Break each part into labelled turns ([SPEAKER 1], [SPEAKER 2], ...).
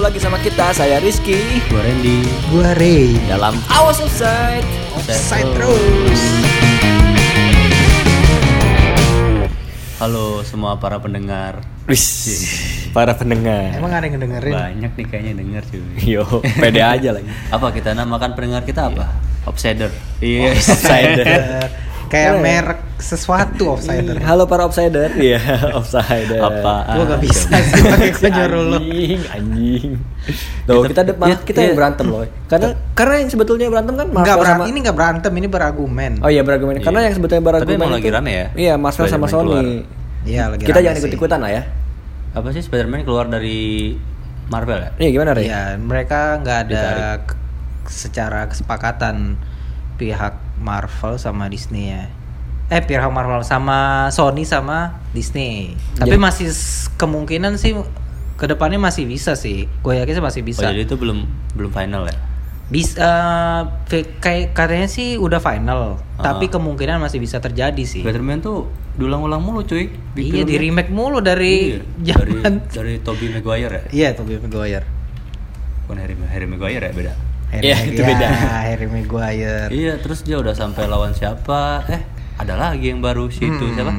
[SPEAKER 1] lagi sama kita saya Rizky
[SPEAKER 2] Gue Randy
[SPEAKER 3] Gue Ray
[SPEAKER 2] Dalam
[SPEAKER 1] Awas offside
[SPEAKER 3] Offside terus
[SPEAKER 2] Halo semua para pendengar
[SPEAKER 1] Wis para pendengar
[SPEAKER 3] Emang ada yang ngedengerin?
[SPEAKER 2] Banyak nih kayaknya denger cuy
[SPEAKER 1] Yo pede aja lagi
[SPEAKER 2] Apa kita namakan pendengar kita apa? Offsider
[SPEAKER 1] Iya
[SPEAKER 3] Eh,
[SPEAKER 1] offsider
[SPEAKER 3] Kayak merek sesuatu offsider
[SPEAKER 1] Halo para offsider Iya offsider
[SPEAKER 2] Apa?
[SPEAKER 3] Gue gak bisa sih pakai gue nyuruh lo
[SPEAKER 1] Anjing anjing Tuh kita de- malah
[SPEAKER 2] Iya,
[SPEAKER 1] kita
[SPEAKER 2] iya.
[SPEAKER 1] yang berantem loh Karena karena yang sebetulnya berantem kan
[SPEAKER 3] Enggak
[SPEAKER 1] Marvel
[SPEAKER 3] berantem,
[SPEAKER 1] sama-
[SPEAKER 3] ini gak berantem, ini berargumen
[SPEAKER 1] Oh iya berargumen Karena
[SPEAKER 2] Iya.
[SPEAKER 1] yang sebetulnya berargumen
[SPEAKER 2] Tapi emang
[SPEAKER 1] itu-
[SPEAKER 2] lagi rame ya?
[SPEAKER 1] Iya Marvel sama
[SPEAKER 2] Spider-Man keluar.
[SPEAKER 1] Sony
[SPEAKER 3] Iya lagi
[SPEAKER 1] Kita
[SPEAKER 3] rame
[SPEAKER 1] jangan
[SPEAKER 3] sih.
[SPEAKER 1] ikut-ikutan lah ya
[SPEAKER 2] Apa sih Spider-Man keluar dari Marvel ya?
[SPEAKER 1] Iya gimana Ray?
[SPEAKER 3] Iya, mereka nggak ada
[SPEAKER 2] Ditarik.
[SPEAKER 3] ke- secara kesepakatan pihak Marvel sama Disney ya. Eh pihak Marvel sama Sony sama Disney. Tapi
[SPEAKER 1] Jadi-
[SPEAKER 3] masih s- kemungkinan sih kedepannya masih bisa sih. Gue yakin sih masih
[SPEAKER 2] Oh
[SPEAKER 3] bisa.
[SPEAKER 1] iya,
[SPEAKER 2] jadi itu belum belum final ya?
[SPEAKER 3] Bis- eh, fi- kayak katanya sih udah final,
[SPEAKER 2] Ah.
[SPEAKER 3] tapi kemungkinan masih bisa terjadi
[SPEAKER 1] Iya.
[SPEAKER 3] sih.
[SPEAKER 2] Spider-Man tuh diulang-ulang mulu cuy
[SPEAKER 3] Iya di
[SPEAKER 2] filmnya.
[SPEAKER 3] remake mulu dari
[SPEAKER 2] Iya, dari,
[SPEAKER 3] zaman.
[SPEAKER 2] dari Tobey Maguire ya?
[SPEAKER 3] Iya Tobey Maguire.
[SPEAKER 2] Bukan Harry, Harry Maguire ya beda?
[SPEAKER 3] Harry
[SPEAKER 1] Iya, itu beda.
[SPEAKER 3] Maguire, Harry Maguire.
[SPEAKER 2] Iya terus dia udah sampai lawan siapa? Eh ada lagi yang baru si itu
[SPEAKER 3] Hmm.
[SPEAKER 2] siapa?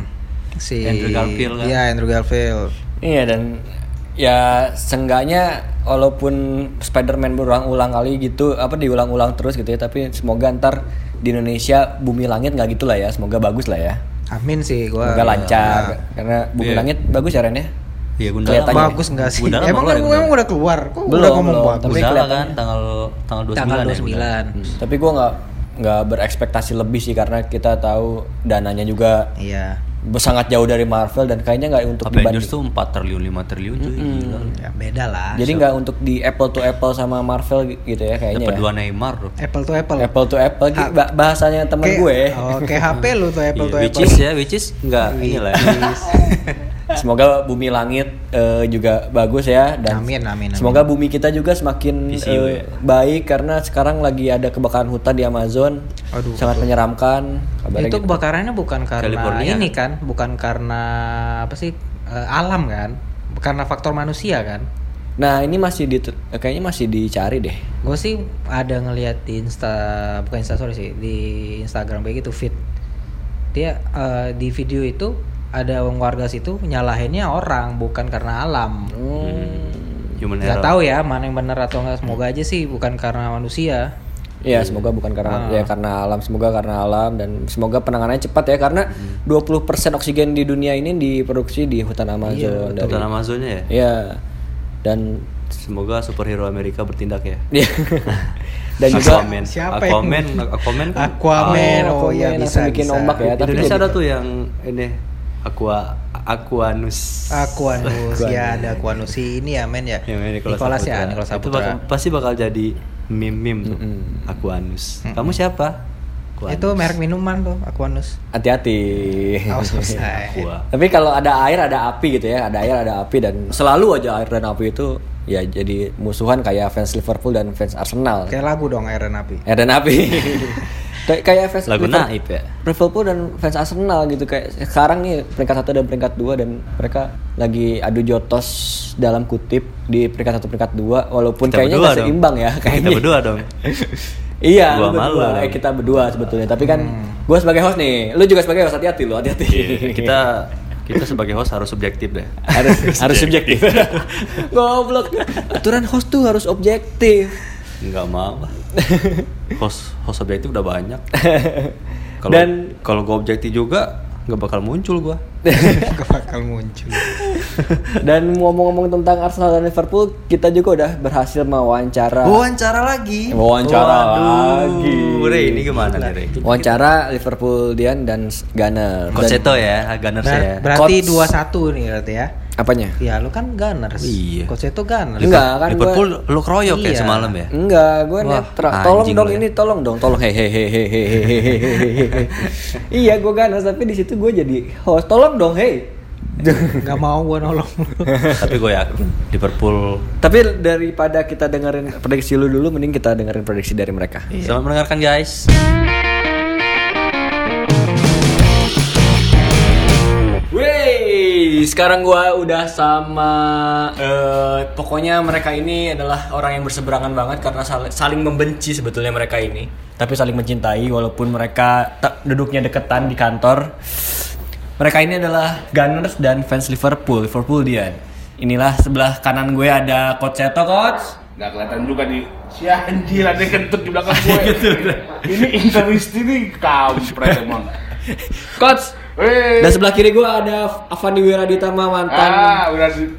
[SPEAKER 3] Si
[SPEAKER 2] Andrew Garfield kan?
[SPEAKER 3] Iya, Andrew Garfield.
[SPEAKER 1] Iya dan ya seenggaknya walaupun Spider-Man berulang-ulang kali gitu apa diulang-ulang terus gitu ya tapi semoga ntar di Indonesia bumi langit nggak gitulah ya semoga bagus lah ya
[SPEAKER 3] Amin sih gua.
[SPEAKER 1] semoga lancar
[SPEAKER 3] Nah.
[SPEAKER 1] karena bumi
[SPEAKER 2] Iya.
[SPEAKER 1] langit bagus ya Ren ya
[SPEAKER 2] Iya
[SPEAKER 1] Kelihatannya. Tanya.
[SPEAKER 3] bagus enggak sih?
[SPEAKER 2] Gundala
[SPEAKER 3] emang
[SPEAKER 2] mau keluar ya,
[SPEAKER 3] kan gua
[SPEAKER 2] Gundala?
[SPEAKER 3] emang udah keluar. Kok
[SPEAKER 1] Belum,
[SPEAKER 3] udah ngomong
[SPEAKER 1] belum,
[SPEAKER 3] bagus.
[SPEAKER 1] tapi
[SPEAKER 2] Gundala kan
[SPEAKER 1] kelihatannya.
[SPEAKER 2] tanggal tanggal 29
[SPEAKER 3] Tanggal
[SPEAKER 2] ya,
[SPEAKER 3] 29.
[SPEAKER 2] Gundala.
[SPEAKER 1] tapi gua nggak nggak berekspektasi lebih sih karena kita tahu dananya juga
[SPEAKER 3] Iya.
[SPEAKER 1] sangat jauh dari Marvel dan kayaknya nggak untuk
[SPEAKER 2] Avengers
[SPEAKER 1] dibanding-
[SPEAKER 2] tuh 4 triliun 5 triliun cuy gila.
[SPEAKER 3] Ya beda lah.
[SPEAKER 1] jadi nggak untuk di Apple to Apple sama Marvel gitu ya kayaknya
[SPEAKER 2] Dapat
[SPEAKER 1] ya.
[SPEAKER 2] dua Neymar tuh.
[SPEAKER 3] Apple to apple.
[SPEAKER 1] Apple to Apple gitu, bah- bahasanya temen
[SPEAKER 3] Ah. Kayak-
[SPEAKER 1] gue
[SPEAKER 3] Oh, kayak HP lu tuh
[SPEAKER 2] Iya,
[SPEAKER 3] apple to
[SPEAKER 2] which
[SPEAKER 3] apple.
[SPEAKER 2] is ya which is enggak inilah. ya.
[SPEAKER 1] Semoga bumi langit eh, juga bagus ya dan
[SPEAKER 3] Amin, amin, amin.
[SPEAKER 1] semoga bumi kita juga semakin
[SPEAKER 2] VCU
[SPEAKER 1] eh, baik karena sekarang lagi ada kebakaran hutan di Amazon.
[SPEAKER 3] Aduh.
[SPEAKER 1] Sangat menyeramkan kabarnya
[SPEAKER 3] Itu
[SPEAKER 1] gitu.
[SPEAKER 3] kebakarannya bukan karena
[SPEAKER 2] California.
[SPEAKER 3] ini kan, bukan karena apa sih? eh, alam kan? Karena faktor manusia kan?
[SPEAKER 1] Nah, ini masih di kayaknya masih dicari deh.
[SPEAKER 3] Gue sih ada ngeliat di Insta bukan Insta sorry sih di Instagram kayak gitu feed dia eh, di video itu ada warga situ nyalahinnya orang bukan karena alam
[SPEAKER 2] Human error.
[SPEAKER 3] nggak tahu ya mana yang benar atau nggak semoga aja sih bukan karena manusia
[SPEAKER 1] Ya, semoga bukan karena ya karena alam, semoga karena alam dan semoga penanganannya cepat ya karena 20% oksigen di dunia ini diproduksi di hutan Amazon dari-
[SPEAKER 2] Hutan Amazonnya ya.
[SPEAKER 1] ya. Dan
[SPEAKER 2] Semoga superhero Amerika bertindak ya.
[SPEAKER 1] Iya. dan juga
[SPEAKER 2] Aquaman.
[SPEAKER 3] Siapa yang-
[SPEAKER 2] Aquaman, Aquaman kan-
[SPEAKER 3] Aquaman oh,
[SPEAKER 1] Aquaman
[SPEAKER 3] iya
[SPEAKER 1] langsung
[SPEAKER 3] bisa
[SPEAKER 1] bikin
[SPEAKER 3] bisa
[SPEAKER 1] ombak ya.
[SPEAKER 2] Di
[SPEAKER 1] tapi
[SPEAKER 2] Indonesia
[SPEAKER 1] jadi-
[SPEAKER 2] ada tuh yang ini Aqua Aquanus.
[SPEAKER 3] Aquanus ya ada Aquanus si ini ya men ya,
[SPEAKER 2] Yang ini Nicholas
[SPEAKER 3] Nicholas ya
[SPEAKER 2] Saputra.
[SPEAKER 3] Nicholas
[SPEAKER 2] Itu
[SPEAKER 3] Saputra
[SPEAKER 2] bakal, pasti bakal jadi meme-meme tuh.
[SPEAKER 1] Mm-mm.
[SPEAKER 2] Aquanus. Kamu siapa? Aquanus.
[SPEAKER 3] itu merek minuman tuh Aquanus
[SPEAKER 1] hati-hati.
[SPEAKER 3] oh, selesai
[SPEAKER 2] Aqua.
[SPEAKER 1] Tapi kalau ada air ada api gitu ya, ada air ada api dan selalu aja air dan api itu ya jadi musuhan kayak fans Liverpool dan fans Arsenal.
[SPEAKER 3] kayak lagu dong Iron Api
[SPEAKER 1] Air dan api. Kayak- kayak fans
[SPEAKER 2] Lagu
[SPEAKER 1] Liverpool-
[SPEAKER 2] naib ya?
[SPEAKER 1] Liverpool dan fans Arsenal gitu kayak sekarang nih peringkat satu dan peringkat dua dan mereka lagi adu jotos dalam kutip di peringkat satu peringkat dua walaupun
[SPEAKER 2] Kita
[SPEAKER 1] kayaknya
[SPEAKER 2] berdua
[SPEAKER 1] nggak
[SPEAKER 2] dong.
[SPEAKER 1] seimbang ya
[SPEAKER 2] Kita
[SPEAKER 1] kayaknya.
[SPEAKER 2] berdua dong.
[SPEAKER 1] Iya, lu
[SPEAKER 2] Gua
[SPEAKER 1] berdua.
[SPEAKER 2] malu dong. Hmm.
[SPEAKER 1] Eh, kita berdua sebetulnya. Tapi kan gue sebagai host nih, lu juga sebagai host hati-hati lu, hati-hati.
[SPEAKER 2] Iya, kita kita sebagai host harus subjektif deh.
[SPEAKER 1] harus harus subjektif. Goblok. Aturan host tuh harus objektif.
[SPEAKER 2] Enggak mau. Host host objektif udah banyak. Kalau
[SPEAKER 1] Dan-
[SPEAKER 2] kalau gue objektif juga nggak bakal muncul gua.
[SPEAKER 3] Gak bakal muncul
[SPEAKER 1] Dan ngomong-ngomong tentang Arsenal dan Liverpool, kita juga udah berhasil mewawancara
[SPEAKER 2] Wawancara lagi.
[SPEAKER 1] Nah. Wawancara lagi.
[SPEAKER 2] Re, ini gimana nih, Re?
[SPEAKER 1] wawancara Liverpool Dian dan Gunner. Dan-
[SPEAKER 2] Koseto ya, Gunners
[SPEAKER 1] Nah,
[SPEAKER 3] Ber-
[SPEAKER 2] ya.
[SPEAKER 3] Nah, berarti
[SPEAKER 1] Coach.
[SPEAKER 3] dua satu nih berarti ya
[SPEAKER 1] apanya?
[SPEAKER 3] ya lu kan Gunners
[SPEAKER 2] Iya.
[SPEAKER 3] coach itu Gunners
[SPEAKER 1] Enggak kan gua-
[SPEAKER 2] Liverpool lu kroyok ya
[SPEAKER 3] Iya.
[SPEAKER 2] semalam ya?
[SPEAKER 1] Enggak, gue
[SPEAKER 2] Wah,
[SPEAKER 1] netral. Tolong
[SPEAKER 2] anjing
[SPEAKER 1] dong
[SPEAKER 2] lu ya.
[SPEAKER 1] ini, tolong dong, tolong hehehehehehehehe. iya, gue ganas tapi di situ gue jadi host. Tolong dong, hey.
[SPEAKER 3] nggak mau gua nolong
[SPEAKER 2] Tapi gue yakin Liverpool
[SPEAKER 1] tapi daripada kita dengerin prediksi lu dulu, mending kita dengerin prediksi dari mereka.
[SPEAKER 2] Selamat mendengarkan guys.
[SPEAKER 1] Wey, sekarang gua udah sama eh, pokoknya mereka ini adalah orang yang berseberangan banget karena sal- saling membenci sebetulnya mereka ini. Tapi saling mencintai walaupun mereka te- duduknya deketan di kantor. Mereka ini adalah Gunners dan fans Liverpool, Liverpool Dian. Inilah sebelah kanan gue ada Coach Seto, Coach.
[SPEAKER 4] Nggak kelihatan juga nih. Si anjir ada yang kentut di belakang gue.
[SPEAKER 1] Gitu.
[SPEAKER 4] ini intermisti nih kampret emang.
[SPEAKER 1] Coach.
[SPEAKER 4] Weh.
[SPEAKER 1] Dan sebelah kiri gue ada Avandi Wiraditama mantan
[SPEAKER 4] Ah, Wiradi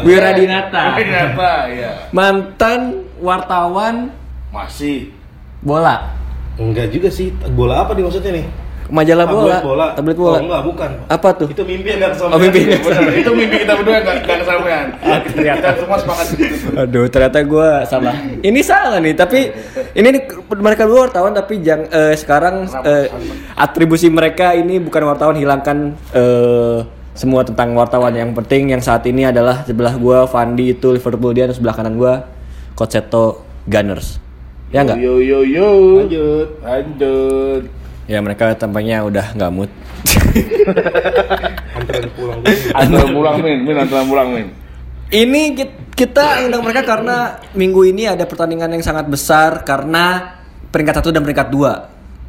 [SPEAKER 2] Wiradinata.
[SPEAKER 4] Oh,
[SPEAKER 1] Wiradinata.
[SPEAKER 4] Wiradinata, iya.
[SPEAKER 1] mantan wartawan
[SPEAKER 4] Masih.
[SPEAKER 1] bola.
[SPEAKER 5] Enggak juga sih. Bola apa nih maksudnya nih?
[SPEAKER 1] majalah
[SPEAKER 5] Tabloid
[SPEAKER 1] bola,
[SPEAKER 5] bola.
[SPEAKER 1] tabloid bola.
[SPEAKER 5] Oh, enggak, bukan.
[SPEAKER 1] Apa tuh?
[SPEAKER 5] Itu mimpi yang gak kesampean.
[SPEAKER 1] Oh, mimpi.
[SPEAKER 4] Benar, itu mimpi kita berdua nggak nggak kesampaian. Kita semua sepakat gitu.
[SPEAKER 1] Aduh, ternyata gue salah. ini salah nih, tapi ini di- mereka dulu wartawan tapi jang, eh, sekarang eh, atribusi mereka ini bukan wartawan hilangkan eh, semua tentang wartawan yang penting yang saat ini adalah sebelah gue Fandi itu Liverpool dia dan sebelah kanan gue Coach Seto Gunners. Ya enggak?
[SPEAKER 4] Yo yo yo.
[SPEAKER 5] Lanjut.
[SPEAKER 4] Lanjut.
[SPEAKER 1] Ya mereka tampaknya udah nggak mood.
[SPEAKER 5] Anterin pulang dulu.
[SPEAKER 4] Antara pulang min, min antara pulang min.
[SPEAKER 1] Ini kit- kita undang mereka karena minggu ini ada pertandingan yang sangat besar karena peringkat satu dan peringkat dua.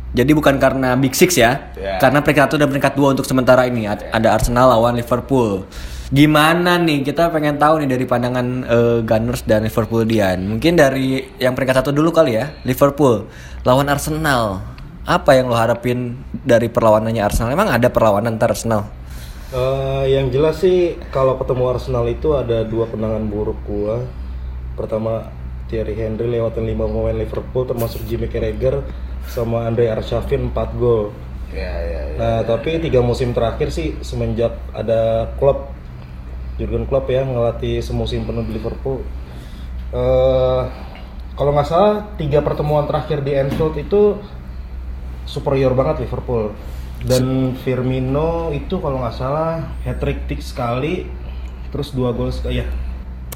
[SPEAKER 1] Jadi bukan karena Big Six ya,
[SPEAKER 4] Ya.
[SPEAKER 1] karena peringkat satu dan peringkat dua untuk sementara ini Ad- ada Arsenal lawan Liverpool. Gimana nih kita pengen tahu nih dari pandangan eh, Gunners dan Liverpool Dian. Mungkin dari yang peringkat satu dulu kali ya, Liverpool lawan Arsenal. Apa yang lo harapin dari perlawanannya Arsenal? Emang ada perlawanan antar Arsenal?
[SPEAKER 5] Eh, yang jelas sih kalau ketemu Arsenal itu ada dua kenangan buruk gua. Pertama Thierry Henry lewatin 5 pemain Liverpool termasuk Jimmy Carragher sama Andre Arshavin 4 gol.
[SPEAKER 4] Ya ya.
[SPEAKER 5] Nah, tapi tiga musim terakhir sih semenjak ada Klopp, Jurgen Klopp ya ngelatih semusim penuh di Liverpool. Eh, kalau nggak salah tiga pertemuan terakhir di Anfield itu superior banget Liverpool. Dan Firmino itu kalau nggak salah hat trick sekali, terus dua gol sekali ya.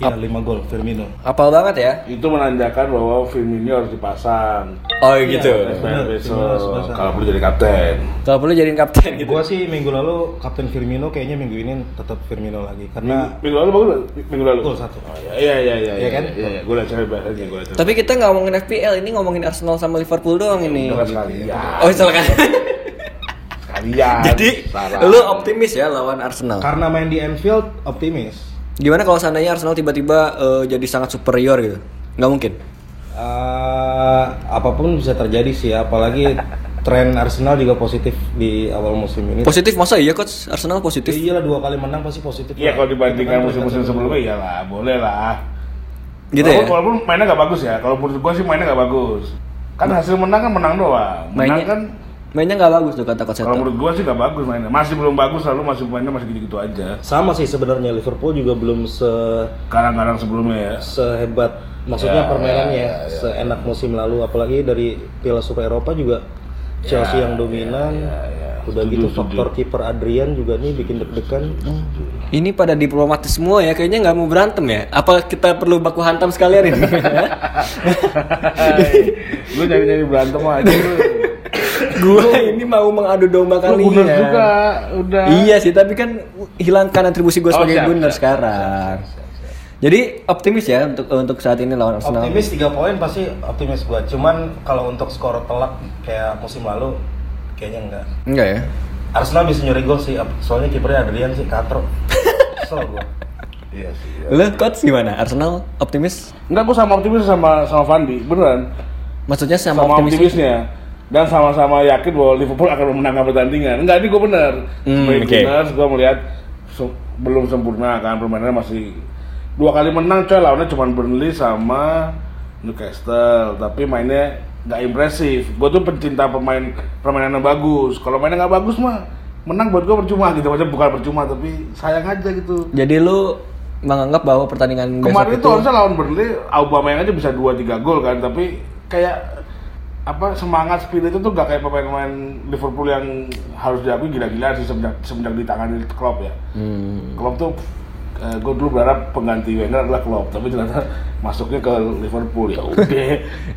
[SPEAKER 5] Iya, lima gol Firmino.
[SPEAKER 1] Apal banget ya?
[SPEAKER 4] Itu menandakan bahwa Firmino harus dipasang.
[SPEAKER 1] Oh gitu.
[SPEAKER 5] Benar,
[SPEAKER 4] Nah,
[SPEAKER 5] Iya, Firmino harus
[SPEAKER 4] besok
[SPEAKER 5] dipasang.
[SPEAKER 4] kalau perlu jadi kapten.
[SPEAKER 1] Iya. Kalau perlu jadiin kapten gitu.
[SPEAKER 5] Gua sih minggu lalu Kapten Firmino kayaknya minggu ini tetap Firmino lagi karena
[SPEAKER 4] Minggu lalu bagus nggak? minggu lalu.
[SPEAKER 5] gol satu.
[SPEAKER 4] Oh, iya iya iya iya.
[SPEAKER 5] Iya kan?
[SPEAKER 4] Iya iya. Gue lihat cewek bahasanya gue lihat.
[SPEAKER 1] Tapi kita nggak ngomongin FPL, ini ngomongin Arsenal sama Liverpool doang ini.
[SPEAKER 4] Jangan sekalian.
[SPEAKER 1] Oh, silakan.
[SPEAKER 4] Iya, Sekalian.
[SPEAKER 1] Jadi,
[SPEAKER 4] Salah.
[SPEAKER 1] lu optimis ya lawan
[SPEAKER 4] Hmm.
[SPEAKER 1] Arsenal.
[SPEAKER 5] Karena main di Anfield optimis.
[SPEAKER 1] Gimana kalau seandainya Arsenal tiba-tiba eh, jadi sangat superior gitu? Nggak mungkin.
[SPEAKER 5] Eh, apapun bisa terjadi sih, ya, apalagi tren Arsenal juga positif di awal musim ini.
[SPEAKER 1] Positif masa iya coach? Arsenal
[SPEAKER 5] Ya
[SPEAKER 1] positif.
[SPEAKER 5] iyalah dua kali menang pasti positif.
[SPEAKER 4] Iya
[SPEAKER 5] lah.
[SPEAKER 4] kalau dibandingkan
[SPEAKER 5] Itu kan
[SPEAKER 4] musim-musim
[SPEAKER 5] prestasi
[SPEAKER 4] sebelumnya iyalah, boleh lah.
[SPEAKER 1] Gitu
[SPEAKER 4] walaupun,
[SPEAKER 1] ya.
[SPEAKER 4] walaupun mainnya nggak bagus ya, kalau menurut gua sih mainnya nggak bagus. Kan hasil menang kan menang doang. Menang
[SPEAKER 1] Nah. Mainnya
[SPEAKER 4] kan
[SPEAKER 1] mainnya nggak bagus tuh kata coach
[SPEAKER 4] kalau
[SPEAKER 1] Seto.
[SPEAKER 4] menurut gua sih nggak bagus mainnya. Masih belum bagus lalu masih mainnya masih gitu-gitu aja.
[SPEAKER 5] Sama sih sebenarnya Liverpool juga belum se
[SPEAKER 4] Kadang-kadang sebelumnya ya.
[SPEAKER 5] sehebat maksudnya
[SPEAKER 4] Ya,
[SPEAKER 5] permainannya
[SPEAKER 4] ya, ya, ya.
[SPEAKER 5] seenak musim lalu apalagi dari Piala Super Eropa juga Chelsea yang dominan.
[SPEAKER 4] ya, ya.
[SPEAKER 5] Udah
[SPEAKER 4] Setuju,
[SPEAKER 5] gitu
[SPEAKER 4] setuju.
[SPEAKER 5] faktor kiper Adrian juga nih bikin deg-degan.
[SPEAKER 1] Ini pada diplomatis semua ya, kayaknya nggak mau berantem ya. Apa kita perlu baku hantam sekalian ini?
[SPEAKER 4] Gue nyari-nyari berantem aja. lu.
[SPEAKER 1] Gua ini mau mengadu domba
[SPEAKER 4] Lu
[SPEAKER 1] kali ya.
[SPEAKER 4] bener juga, udah.
[SPEAKER 1] Iya sih, tapi kan hilangkan atribusi gue
[SPEAKER 4] Oh,
[SPEAKER 1] sebagai
[SPEAKER 4] siap,
[SPEAKER 1] gunner
[SPEAKER 4] siap,
[SPEAKER 1] sekarang. Jadi optimis ya untuk untuk saat ini lawan Arsenal.
[SPEAKER 5] Optimis 3 poin pasti optimis gua. Cuman kalau untuk skor telak kayak musim lalu kayaknya enggak.
[SPEAKER 1] Enggak ya?
[SPEAKER 5] Arsenal bisa nyuri gol sih, ap- soalnya kipernya Adrian sih katro. Kesel gua.
[SPEAKER 4] Iya sih. iya.
[SPEAKER 1] Lo coach gimana? Arsenal optimis?
[SPEAKER 4] Enggak, gua sama optimis sama sama Fandi, beneran.
[SPEAKER 1] Maksudnya sama,
[SPEAKER 4] sama,
[SPEAKER 1] optimis? gitu?
[SPEAKER 4] optimisnya dan sama-sama yakin bahwa Liverpool akan memenangkan pertandingan. Enggak, ini gue benar.
[SPEAKER 1] Hmm,
[SPEAKER 4] Sebagai
[SPEAKER 1] oke.
[SPEAKER 4] Gunners, gue melihat se- belum sempurna kan permainannya masih dua kali menang coy lawannya cuma Burnley sama Newcastle tapi mainnya nggak impresif gue tuh pencinta pemain permainan yang bagus kalau mainnya nggak bagus mah menang buat gue percuma gitu macam bukan percuma tapi sayang aja gitu
[SPEAKER 1] Jadi lu menganggap bahwa pertandingan
[SPEAKER 4] Kemarin
[SPEAKER 1] besok
[SPEAKER 4] itu harusnya lawan Burnley Aubameyang aja bisa 2-3 gol kan, tapi kayak apa semangat spirit itu tuh gak kayak pemain-pemain Liverpool yang harus diakui gila-gila sih semenjak semenjak ditangani Klopp ya.
[SPEAKER 1] Hmm.
[SPEAKER 4] Klopp tuh eh, gue dulu berharap pengganti Wenger adalah Klopp, tapi ternyata masuknya ke Liverpool ya udah.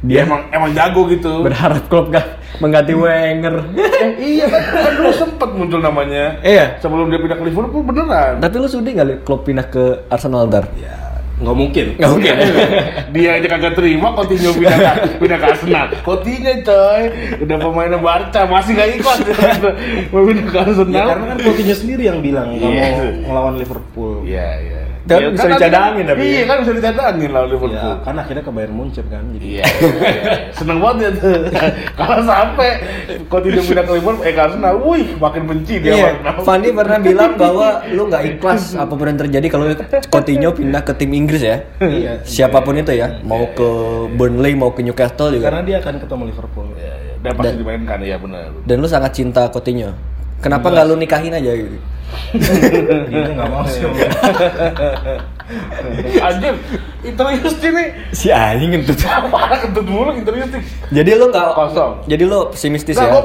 [SPEAKER 4] Dia, emang emang jago gitu.
[SPEAKER 1] Berharap klub gak mengganti
[SPEAKER 4] Hmm.
[SPEAKER 1] Wenger.
[SPEAKER 4] Eh, iya kan, kan dulu sempet muncul namanya.
[SPEAKER 1] Iya.
[SPEAKER 4] Sebelum dia pindah ke Liverpool beneran.
[SPEAKER 1] Tapi lu sudi nggak klub pindah ke Arsenal Iya. ntar?
[SPEAKER 5] nggak mungkin
[SPEAKER 1] Nggak mungkin.
[SPEAKER 4] Iya. dia aja kagak terima Coutinho pindah ke, pindah ke Arsenal Coutinho coy udah pemain Barca masih gak ikut mau pindah ke
[SPEAKER 1] Iya,
[SPEAKER 4] Arsenal
[SPEAKER 5] ya karena kan Coutinho sendiri yang bilang nggak
[SPEAKER 4] Iya.
[SPEAKER 5] mau ngelawan Liverpool
[SPEAKER 4] iya iya
[SPEAKER 1] Tapi
[SPEAKER 4] Ya,
[SPEAKER 1] bisa
[SPEAKER 4] kan
[SPEAKER 1] dicadangin
[SPEAKER 4] ada-
[SPEAKER 1] tapi ya. Iya.
[SPEAKER 4] iya kan bisa dicadangin lawan
[SPEAKER 5] ya
[SPEAKER 4] Liverpool
[SPEAKER 5] kan akhirnya ke Bayern Munchen kan jadi
[SPEAKER 4] Iya, iya, iya. seneng banget ya tuh. Kalau sampai Coutinho pindah ke Liverpool, eh ke Arsenal, wih makin benci dia.
[SPEAKER 1] Iya,
[SPEAKER 4] sama Arsenal.
[SPEAKER 1] Fandi pernah bilang bahwa lu nggak ikhlas apapun yang terjadi kalau Coutinho pindah ke tim Inggris ya.
[SPEAKER 5] Iya.
[SPEAKER 1] Siapapun itu ya, mau ke Burnley, mau ke Newcastle
[SPEAKER 5] karena
[SPEAKER 1] juga.
[SPEAKER 5] dia akan ketemu Liverpool
[SPEAKER 4] Iya, iya. Dan pasti dimainkan ya benar.
[SPEAKER 1] Dan lu sangat cinta Coutinho. Kenapa nggak lu nikahin aja? gitu?
[SPEAKER 5] dia nggak mau sih
[SPEAKER 4] Anjir, interview nih,
[SPEAKER 1] Si anjing itu.
[SPEAKER 4] parah kentut mulu interview sih.
[SPEAKER 1] Jadi lu nggak
[SPEAKER 4] Kosong.
[SPEAKER 1] Jadi lu pesimistis
[SPEAKER 4] Nah,
[SPEAKER 1] ya?
[SPEAKER 4] gue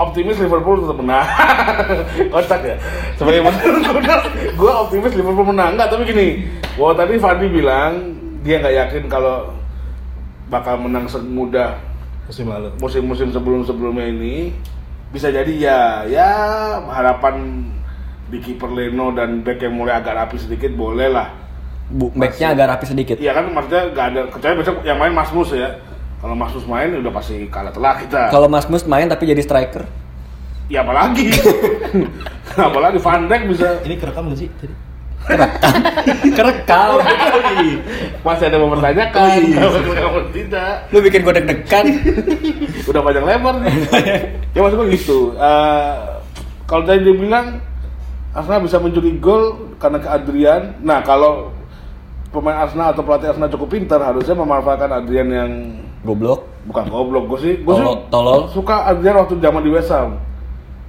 [SPEAKER 4] optimis Liverpool tetap menang. Kocak ya. Sebagai
[SPEAKER 1] Iya.
[SPEAKER 4] menang, gue optimis Liverpool menang. Enggak, tapi gini. Gue tadi Fandi bilang dia nggak yakin kalau bakal menang semudah
[SPEAKER 5] musim lalu
[SPEAKER 4] musim-musim sebelum-sebelumnya ini. Bisa jadi ya, ya harapan di kiper Leno dan back yang mulai agak rapi sedikit boleh lah.
[SPEAKER 1] Bu, backnya agak rapi sedikit.
[SPEAKER 4] Iya kan maksudnya nggak ada kecuali besok yang main Masmus ya. Kalau Masmus main udah pasti kalah telak kita.
[SPEAKER 1] Kalau Mas Mus main tapi jadi striker,
[SPEAKER 4] Ya apalagi. apalagi Van Dijk bisa
[SPEAKER 5] ini kerekam nggak sih tadi
[SPEAKER 1] kerekam.
[SPEAKER 4] masih ada yang mempertanyakan
[SPEAKER 1] Oh, iya.
[SPEAKER 4] kalau tidak
[SPEAKER 1] lu bikin gue deg-degan.
[SPEAKER 4] udah panjang lebar nih ya maksud gue gitu Eh, kalau tadi dia bilang Arsenal bisa mencuri gol karena ke Adrian nah kalau pemain Arsenal atau pelatih Arsenal cukup pintar harusnya memanfaatkan Adrian yang
[SPEAKER 1] Goblok.
[SPEAKER 4] bukan goblok gue sih gue sih
[SPEAKER 1] Tolol- tolol.
[SPEAKER 4] suka Adrian waktu zaman di West Ham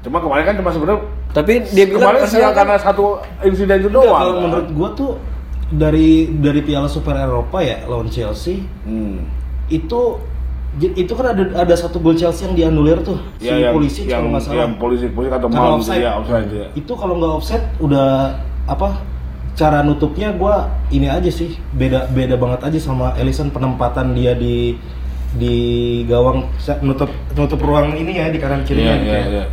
[SPEAKER 4] cuma kemarin kan cuma sebenarnya
[SPEAKER 1] Tapi dia bilang
[SPEAKER 4] kemarin
[SPEAKER 1] Arsenal
[SPEAKER 4] sial
[SPEAKER 1] kan-
[SPEAKER 4] karena satu insiden itu doang
[SPEAKER 5] Nggak, Iya, kalau menurut gua tuh dari dari Piala Super Eropa ya lawan Chelsea
[SPEAKER 4] Hmm.
[SPEAKER 5] itu itu kan ada ada satu gol Chelsea yang dianulir tuh si
[SPEAKER 4] Ya, yang,
[SPEAKER 5] polisi
[SPEAKER 4] yang,
[SPEAKER 5] kalau nggak salah
[SPEAKER 4] yang polisi polisi kata
[SPEAKER 5] Karena
[SPEAKER 4] mau
[SPEAKER 5] offside.
[SPEAKER 4] ya offside ya
[SPEAKER 5] itu kalau nggak offset udah apa cara nutupnya gua ini aja sih beda beda banget aja sama Ellison penempatan dia di di gawang sa- nutup nutup ruang ini ya di kanan
[SPEAKER 4] Iya,
[SPEAKER 5] kirinya kayak
[SPEAKER 4] iya, iya.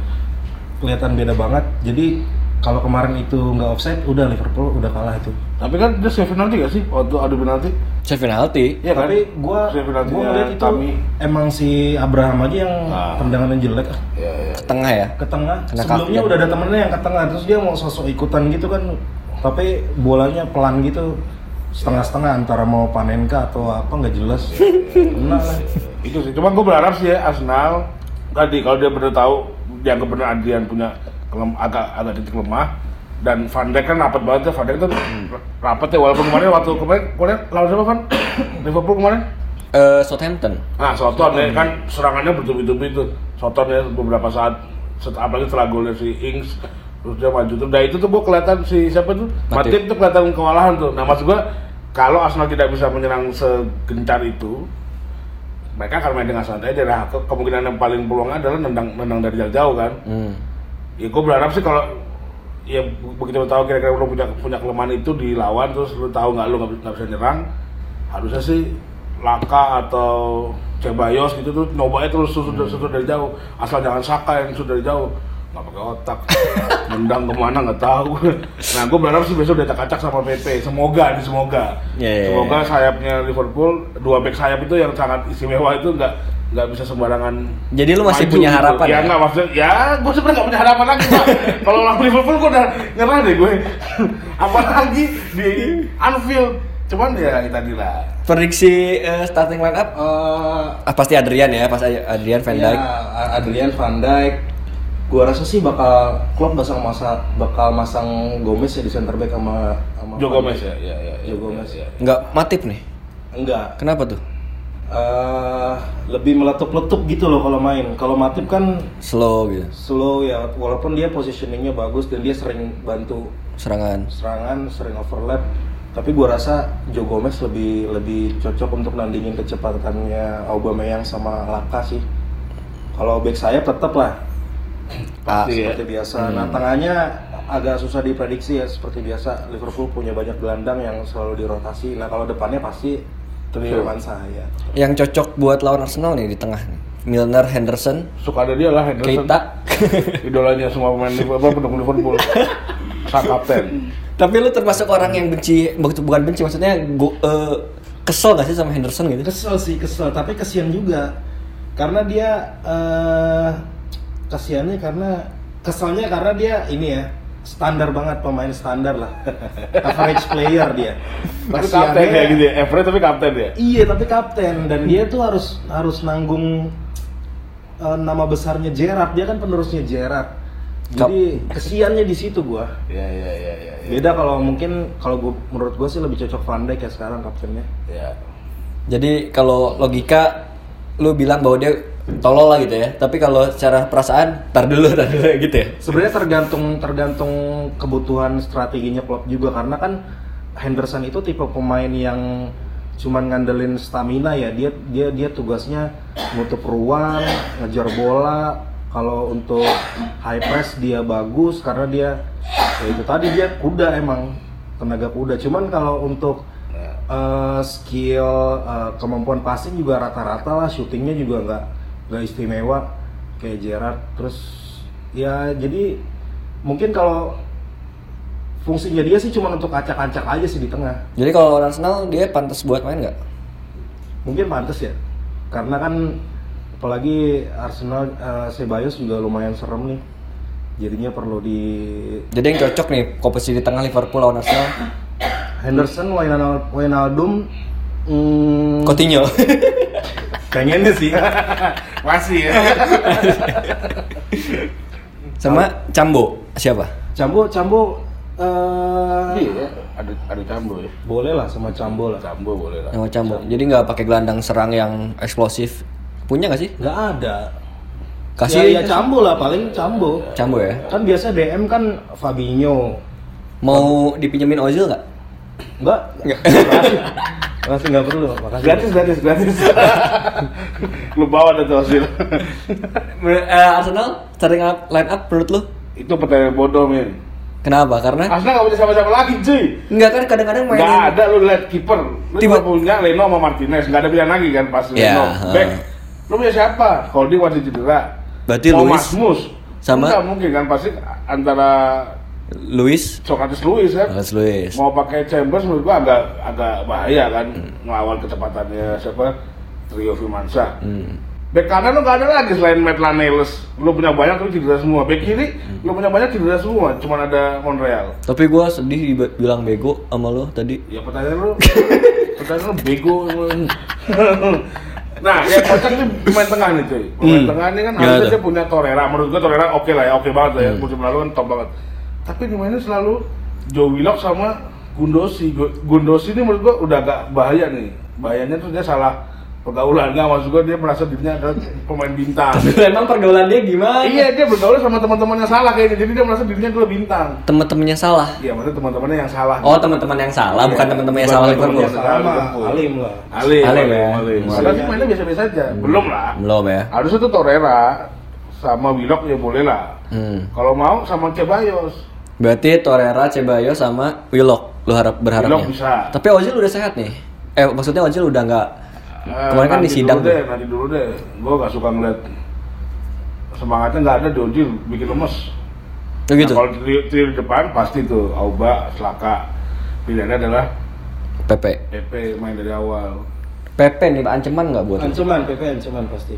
[SPEAKER 5] kelihatan beda banget jadi kalau kemarin itu nggak offset udah Liverpool udah kalah itu
[SPEAKER 4] Tapi kan dia save penalti gak sih waktu adu penalti?
[SPEAKER 1] Save penalti.
[SPEAKER 4] Iya kan?
[SPEAKER 5] tapi gua
[SPEAKER 4] save
[SPEAKER 5] gua
[SPEAKER 4] penaltinya
[SPEAKER 5] ngeliat itu
[SPEAKER 4] Tami.
[SPEAKER 5] emang si Abraham aja yang
[SPEAKER 4] Ah.
[SPEAKER 5] tendangannya jelek ah.
[SPEAKER 4] Iya, iya.
[SPEAKER 1] Ke tengah ya.
[SPEAKER 5] ke tengah
[SPEAKER 1] Kena
[SPEAKER 5] sebelumnya
[SPEAKER 1] kaki. kan.
[SPEAKER 5] udah ada temennya yang ke tengah terus dia mau sosok ikutan gitu kan tapi bolanya pelan gitu setengah-setengah antara mau panen ke atau apa nggak jelas Kena lah.
[SPEAKER 4] Itu sih. Cuma gue berharap sih ya Arsenal tadi kalau dia benar tahu dia benar Adrian punya kelem, agak agak titik lemah dan Van Dijk kan rapat banget ya Van Dijk tuh
[SPEAKER 5] Hmm.
[SPEAKER 4] rapat ya walaupun kemarin waktu kemarin kemarin lawan siapa Van? Liverpool kemarin?
[SPEAKER 1] Eh, Southampton.
[SPEAKER 4] Nah, Soton ya kan serangannya bertubi-tubi itu. Soton ya beberapa saat set- apalagi setelah golnya si Ings terus dia maju tuh. Nah itu tuh gua kelihatan si siapa tuh
[SPEAKER 1] Matip.
[SPEAKER 4] Matip tuh kelihatan kewalahan tuh. Nah maksud gua kalau Arsenal tidak bisa menyerang segencar itu, mereka akan main dengan santai aja. Nah, ke- kemungkinan yang paling peluang adalah nendang nendang dari jauh-jauh kan.
[SPEAKER 1] Hmm.
[SPEAKER 4] Ya gua berharap sih kalau ya begitu lu tahu kira-kira lu punya punya kelemahan itu dilawan terus lu tahu nggak lu nggak nggak bisa nyerang harusnya sih Laka atau Cebayos gitu tuh nyobanya terus susut susut dari jauh asal jangan Saka yang susut dari jauh nggak pakai otak mendang kemana nggak tahu nah gue berharap sih besok udah acak sama PP semoga nih semoga
[SPEAKER 1] Ya, ya, ya.
[SPEAKER 4] semoga sayapnya Liverpool dua back sayap itu yang sangat istimewa itu nggak nggak bisa sembarangan
[SPEAKER 1] Jadi lu masih
[SPEAKER 4] maju
[SPEAKER 1] punya
[SPEAKER 4] gitu.
[SPEAKER 1] harapan
[SPEAKER 4] ya?
[SPEAKER 1] ya?
[SPEAKER 4] nggak maksudnya, ya gue sebenarnya nggak punya harapan lagi Pak. Kalau lawan Liverpool gue udah nyerah deh gue. Apalagi di Anfield. Cuman ya itu tadi lah.
[SPEAKER 1] Prediksi eh, starting line up
[SPEAKER 5] Eh,
[SPEAKER 1] ah, pasti Adrian ya, pas Adrian Van
[SPEAKER 5] ya,
[SPEAKER 1] Dijk.
[SPEAKER 5] Adrian Van Dijk gua rasa sih bakal Klopp pasang masa bakal masang Gomez ya di center back sama sama
[SPEAKER 4] Joe
[SPEAKER 5] Van
[SPEAKER 4] Gomez
[SPEAKER 5] Dijk.
[SPEAKER 4] ya, ya, ya,
[SPEAKER 5] Joe Gomez ya.
[SPEAKER 1] Nggak matip nih.
[SPEAKER 5] enggak
[SPEAKER 1] Kenapa tuh?
[SPEAKER 5] eh lebih meletup-letup gitu loh kalau main. Kalau Matip kan
[SPEAKER 1] Slow gitu.
[SPEAKER 5] slow ya, walaupun dia positioningnya bagus dan dia sering bantu
[SPEAKER 1] Serangan.
[SPEAKER 5] serangan, sering overlap. Tapi gua rasa Joe Gomez lebih lebih cocok untuk nandingin kecepatannya Aubameyang sama Laka sih. Kalau back sayap tetap lah
[SPEAKER 1] Ah,
[SPEAKER 5] seperti biasa. Nah tengahnya agak susah diprediksi ya seperti biasa Liverpool punya banyak gelandang yang selalu dirotasi. Nah kalau depannya pasti
[SPEAKER 4] Trio.
[SPEAKER 5] Firmansyah ya.
[SPEAKER 1] Yang cocok buat lawan Arsenal nih di tengah. Milner, Henderson,
[SPEAKER 4] Suka ada dia lah Henderson.
[SPEAKER 1] Keita.
[SPEAKER 4] Idolanya semua pemain Liverpool, apa, pendukung Liverpool. Sang kapten.
[SPEAKER 1] Tapi lu termasuk orang yang benci, bu- bukan benci maksudnya go, eh, kesel gak sih sama Henderson gitu?
[SPEAKER 5] Kesel sih kesel, tapi kesian juga karena dia eh kesiannya karena keselnya karena dia ini ya standar banget pemain standar lah average player dia.
[SPEAKER 4] Tapi kapten
[SPEAKER 5] Kasiannya-
[SPEAKER 4] ya gitu ya. Everett tapi kapten ya.
[SPEAKER 5] Iya, tapi kapten dan dia tuh harus harus nanggung eh, nama besarnya Gerard. Dia kan penerusnya Gerard. Jadi kesiannya di situ gua.
[SPEAKER 4] Iya iya iya iya. iya.
[SPEAKER 5] Beda kalau mungkin kalau gua menurut gua sih lebih cocok Van Dijk ya sekarang kaptennya.
[SPEAKER 4] Ya.
[SPEAKER 1] Jadi kalau logika lu bilang bahwa dia tolol lah gitu ya. Tapi kalau secara perasaan tar dulu tar dulu gitu ya.
[SPEAKER 5] Sebenarnya tergantung tergantung kebutuhan strateginya Klopp juga karena kan Henderson itu tipe pemain yang cuman ngandelin stamina ya. Dia dia dia tugasnya nutup ruang, ngejar bola. Kalau untuk high press dia bagus karena dia ya itu tadi dia kuda emang tenaga kuda. Cuman kalau untuk eh, skill eh, kemampuan passing juga rata-rata lah, shootingnya juga nggak nggak istimewa kayak Gerard. Terus ya jadi mungkin kalau fungsinya dia sih cuma untuk acak-acak aja sih di tengah
[SPEAKER 1] Jadi kalau lawan Arsenal dia pantas buat main nggak?
[SPEAKER 5] mungkin pantas ya karena kan apalagi Arsenal eh, Ceballos juga lumayan serem nih jadinya perlu di
[SPEAKER 1] Jadi yang cocok nih komposisi di tengah Liverpool lawan Arsenal.
[SPEAKER 5] Henderson Wijnal- Wijnaldum hmm,
[SPEAKER 1] Coutinho.
[SPEAKER 5] pengennya sih
[SPEAKER 4] Masih ya.
[SPEAKER 1] Sama Cambo. Siapa?
[SPEAKER 5] Cambo Cambo eh,
[SPEAKER 4] Iya. Ada ada Cambo ya.
[SPEAKER 5] boleh lah sama Cambo lah
[SPEAKER 4] Cambo boleh lah.
[SPEAKER 1] Sama Cambo. Jadi nggak pakai gelandang serang yang eksplosif. Punya nggak sih?
[SPEAKER 5] nggak ada
[SPEAKER 1] Kasih
[SPEAKER 5] ya, ya Cambo lah paling Cambo
[SPEAKER 1] Cambo ya.
[SPEAKER 5] kan biasa DM kan Fabinho
[SPEAKER 1] Mau dipinjemin Ozil nggak?
[SPEAKER 5] Enggak. Makasih. Makasih enggak perlu. Makasih.
[SPEAKER 4] Gratis gratis gratis. Lu bawa deh tuh hasil.
[SPEAKER 1] eh, Arsenal sering line up menurut lu?
[SPEAKER 4] Itu pertanyaan bodoh men.
[SPEAKER 1] Eh. Kenapa? Karena
[SPEAKER 4] Arsenal nggak punya sama-sama lagi cuy.
[SPEAKER 1] nggak kan kadang-kadang mainin
[SPEAKER 4] Nggak ada lu lihat kiper. Lu
[SPEAKER 1] Tiba-
[SPEAKER 4] cuma punya Leno sama Martinez, nggak ada pilihan lagi kan pas
[SPEAKER 1] Ya,
[SPEAKER 4] Leno.
[SPEAKER 1] ha.
[SPEAKER 4] Back. Lu punya siapa? Holding masih cedera.
[SPEAKER 1] Berarti
[SPEAKER 4] Mau
[SPEAKER 1] Luis
[SPEAKER 4] Masmus.
[SPEAKER 1] sama-
[SPEAKER 4] Nggak mungkin kan pasti antara
[SPEAKER 1] Luis
[SPEAKER 4] Socrates Luis kan.
[SPEAKER 1] Alex Luis.
[SPEAKER 4] Mau pakai Chambers menurut gua agak agak bahaya kan
[SPEAKER 1] Hmm.
[SPEAKER 4] ngelawan kecepatannya siapa? Trio Firmansyah.
[SPEAKER 1] Hmm.
[SPEAKER 4] Back kanan lu nggak ada lagi selain Matt Lanelis. Lu punya banyak lu cedera semua. Back kiri
[SPEAKER 1] Hmm.
[SPEAKER 4] lu punya banyak cedera semua. Cuman ada Monreal.
[SPEAKER 1] Tapi gue sedih dibilang bego sama lo tadi.
[SPEAKER 4] Ya pertanyaan lu, pertanyaan lu bego. emang. nah, ya kocak nih pemain tengah nih cuy. Pemain
[SPEAKER 1] Hmm.
[SPEAKER 4] tengah ini kan
[SPEAKER 1] Ya,
[SPEAKER 4] harusnya
[SPEAKER 1] ada. Hmm.
[SPEAKER 4] dia punya Torreira. Menurut gua Torreira oke lah ya, oke banget lah ya. Musim lalu kan top banget. Tapi mainnya selalu Joe Willock sama Gundosi. Gu- Gundosi ini menurut gua udah agak bahaya nih. Bahayanya tuh dia salah pergaulan. Nggak maksud gua dia merasa dirinya adalah pemain bintang.
[SPEAKER 1] Emang pergaulan dia gimana?
[SPEAKER 4] iya, dia bergaul sama teman-temannya salah kayaknya. Jadi dia merasa dirinya gue bintang.
[SPEAKER 1] Temen-temennya salah.
[SPEAKER 4] Iya, maksudnya teman-temannya yang salah.
[SPEAKER 1] Oh teman-teman yang salah, bukan teman-teman yang
[SPEAKER 4] Bukan
[SPEAKER 1] salah
[SPEAKER 4] teman-teman
[SPEAKER 1] Liverpool.
[SPEAKER 4] yang salah. Liverpool.
[SPEAKER 5] Alim lah.
[SPEAKER 4] Alim,
[SPEAKER 1] Alim ya.
[SPEAKER 4] alim. Padahal sih mainnya biasa-biasa aja. Belum lah.
[SPEAKER 1] Belum ya.
[SPEAKER 4] Harusnya tuh Torreira sama Willock ya boleh lah.
[SPEAKER 1] Hmm.
[SPEAKER 4] Kalau mau sama Ceballos.
[SPEAKER 1] Berarti Torreira, Ceballos sama Willock lu harap berharapnya.
[SPEAKER 4] Willock bisa.
[SPEAKER 1] Tapi Ozil udah sehat nih. Eh maksudnya Ozil udah nggak
[SPEAKER 4] Eh,
[SPEAKER 1] kemarin kan
[SPEAKER 4] nanti
[SPEAKER 1] di sidang
[SPEAKER 4] dulu deh, nanti dulu deh. Gue gak suka ngeliat semangatnya nggak ada Dojil bikin lemes.
[SPEAKER 1] tuh. Oh gitu.
[SPEAKER 4] Nah, kalau trio, trio di depan pasti tuh Auba, Selaka. Pilihannya adalah
[SPEAKER 1] Pepe.
[SPEAKER 4] PP main dari awal.
[SPEAKER 1] Pepe nih ancaman nggak buat? lu?
[SPEAKER 5] Ancaman PP ancaman pasti.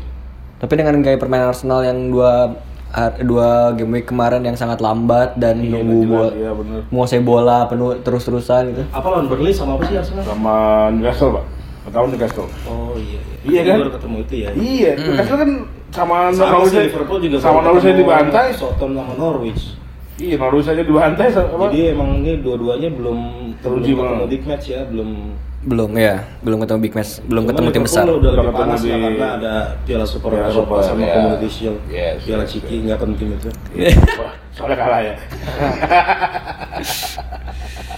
[SPEAKER 1] Tapi dengan gaya permainan Arsenal yang dua har- dua game week kemarin yang sangat lambat dan nunggu
[SPEAKER 4] Gila,
[SPEAKER 1] bola,
[SPEAKER 4] Iya bener.
[SPEAKER 1] menguasai bola penuh terus-terusan gitu.
[SPEAKER 5] Apa lawan Burnley sama apa sih Arsenal?
[SPEAKER 4] Sama Newcastle pak. Tahun Newcastle.
[SPEAKER 5] Oh iya iya.
[SPEAKER 4] Iya kan?
[SPEAKER 5] Baru ketemu itu ya.
[SPEAKER 4] Iya, Newcastle kan sama
[SPEAKER 5] Sama
[SPEAKER 4] Norwich
[SPEAKER 5] sih Liverpool juga
[SPEAKER 4] sama
[SPEAKER 5] baru
[SPEAKER 4] Norwich aja
[SPEAKER 5] ketemu
[SPEAKER 4] dibantai.
[SPEAKER 5] Southampton sama Norwich.
[SPEAKER 4] Iya, Norwich aja dibantai sama
[SPEAKER 5] Jadi emang ini dua-duanya belum
[SPEAKER 4] Teruji
[SPEAKER 5] belum ketemu
[SPEAKER 4] banget.
[SPEAKER 5] big match ya, belum
[SPEAKER 1] Belum ya, belum ketemu big match, belum
[SPEAKER 5] Cuman
[SPEAKER 1] ketemu tim
[SPEAKER 5] Liverpool
[SPEAKER 1] besar.
[SPEAKER 5] Udah
[SPEAKER 4] Belum
[SPEAKER 5] lebih
[SPEAKER 4] ketemu
[SPEAKER 5] panas lah
[SPEAKER 4] di-
[SPEAKER 5] karena ada Piala Super
[SPEAKER 4] Piala
[SPEAKER 5] Eropa
[SPEAKER 4] Super,
[SPEAKER 5] sama
[SPEAKER 4] ya.
[SPEAKER 5] Community Shield.
[SPEAKER 4] Yes,
[SPEAKER 5] Piala
[SPEAKER 4] yes,
[SPEAKER 5] Ciki nggak penting itu.
[SPEAKER 4] Wah, Soalnya kalah ya.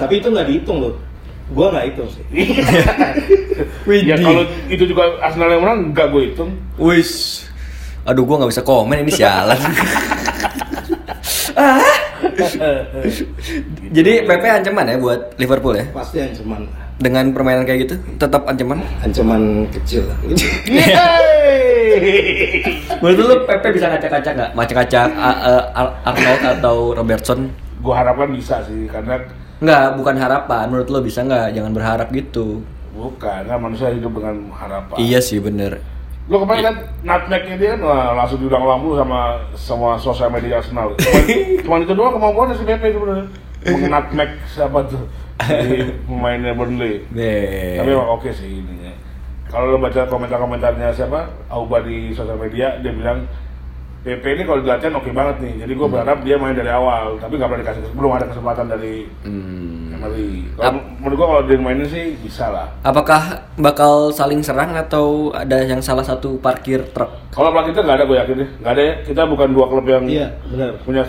[SPEAKER 5] Tapi itu nggak dihitung loh. Gua nggak hitung sih.
[SPEAKER 4] ya kalau itu juga Arsenal yang menang enggak gue hitung.
[SPEAKER 1] Wis. Aduh gua nggak bisa komen ini sialan. Ah. Gitu. Jadi PP ancaman ya buat Liverpool ya?
[SPEAKER 6] Pasti ancaman.
[SPEAKER 1] Dengan permainan kayak gitu tetap ancaman?
[SPEAKER 6] Ancaman kecil. lah.
[SPEAKER 5] Iya.
[SPEAKER 1] Menurut lu PP bisa ngacak-ngacak nggak? Ngacak-ngacak A- eh, Ar- Arnold atau Robertson?
[SPEAKER 4] Gue harapkan bisa sih, karena
[SPEAKER 1] Nggak, bukan harapan. Menurut lu bisa nggak? Jangan berharap gitu.
[SPEAKER 4] bukan, kan manusia hidup dengan harapan.
[SPEAKER 1] Iya sih bener.
[SPEAKER 4] Lo kemarin kan nutmegnya dia kan wah, langsung diulang-ulang dulu sama sama sosial media Arsenal. Cuman, cuman itu doang kemampuannya si Pepe sebenarnya. Mengnutmeg siapa tuh di pemainnya Burnley.
[SPEAKER 1] Nih.
[SPEAKER 4] Tapi emang oke sih ininya. Kalau lo baca komentar-komentarnya siapa, Auba di sosial media, dia bilang PP ini kalau dilatihan oke banget nih. Jadi gue berharap dia main dari awal, tapi nggak pernah dikasih belum ada kesempatan dari Emery. Kalau
[SPEAKER 1] Ap-
[SPEAKER 4] menurut gue kalau dia mainin sih bisa lah.
[SPEAKER 1] Apakah bakal saling serang atau ada yang salah satu parkir truk?
[SPEAKER 4] Kalau pelatih kita nggak ada gue yakin deh, nggak ada ya. Kita bukan dua klub yang
[SPEAKER 6] Iya, benar.
[SPEAKER 4] punya.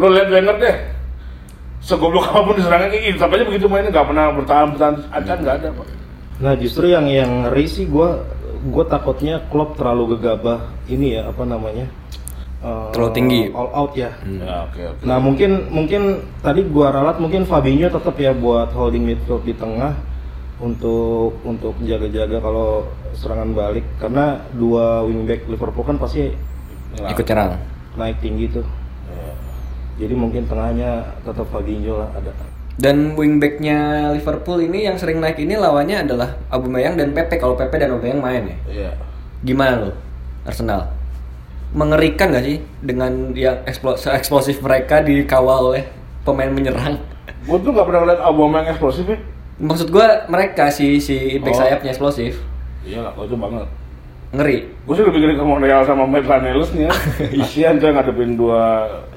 [SPEAKER 4] Lo lihat Wenger deh, segoblok apapun diserangnya kayak gitu, sampai aja begitu mainnya nggak pernah bertahan bertahan acan nggak ada. Pak.
[SPEAKER 5] Nah justru yang yang ngeri sih gue gue takutnya klub terlalu gegabah ini ya apa namanya Eh,
[SPEAKER 1] Terlalu tinggi.
[SPEAKER 5] all out ya.
[SPEAKER 4] Ya, oke oke.
[SPEAKER 5] Nah mungkin mungkin tadi gua ralat mungkin Fabinho tetap ya buat holding midfield di tengah untuk untuk jaga-jaga kalau serangan balik karena dua wingback Liverpool kan pasti
[SPEAKER 1] Ikut nyerang.
[SPEAKER 5] naik tinggi tuh. Jadi mungkin tengahnya tetap Fabinho lah ada.
[SPEAKER 1] Dan wingbacknya Liverpool ini yang sering naik ini lawannya adalah Aubameyang dan Pepe. Kalau Pepe dan Aubameyang main ya.
[SPEAKER 4] Iya.
[SPEAKER 1] Gimana lo Arsenal? Mengerikan gak sih dengan yang eksplo- eksplosif mereka dikawal oleh pemain menyerang?
[SPEAKER 4] Gue tuh nggak pernah ngeliat Aubameyang eksplosif ya.
[SPEAKER 1] Maksud gua mereka si si back
[SPEAKER 4] Oh.
[SPEAKER 1] sayapnya eksplosif.
[SPEAKER 4] Iya lah, gue tuh banget.
[SPEAKER 1] Ngeri.
[SPEAKER 4] Gue sih lebih gede ke Montreal sama Metlanelis nih ya. Kasian tuh yang ngadepin dua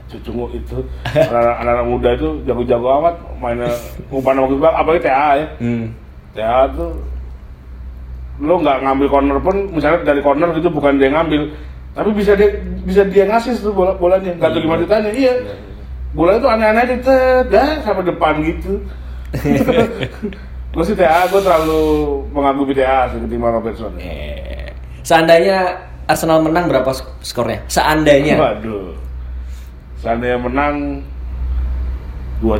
[SPEAKER 4] cucungu itu. Anak- Anak-anak muda itu jago-jago amat. Mainnya umpan waktu bang, apalagi TA ya.
[SPEAKER 1] Hmm.
[SPEAKER 4] Ya tuh lo nggak ngambil corner pun misalnya dari corner gitu bukan dia ngambil tapi bisa dia bisa dia ngasih tuh bola bolanya nggak tahu gimana ditanya iya bolanya tuh aneh-aneh aja tet, dah sampai depan gitu gue sih TA gue terlalu mengagumi TA sih ketimbang Robertson
[SPEAKER 1] Eh, Seandainya Arsenal menang berapa sk- skornya? Seandainya.
[SPEAKER 4] waduh seandainya menang dua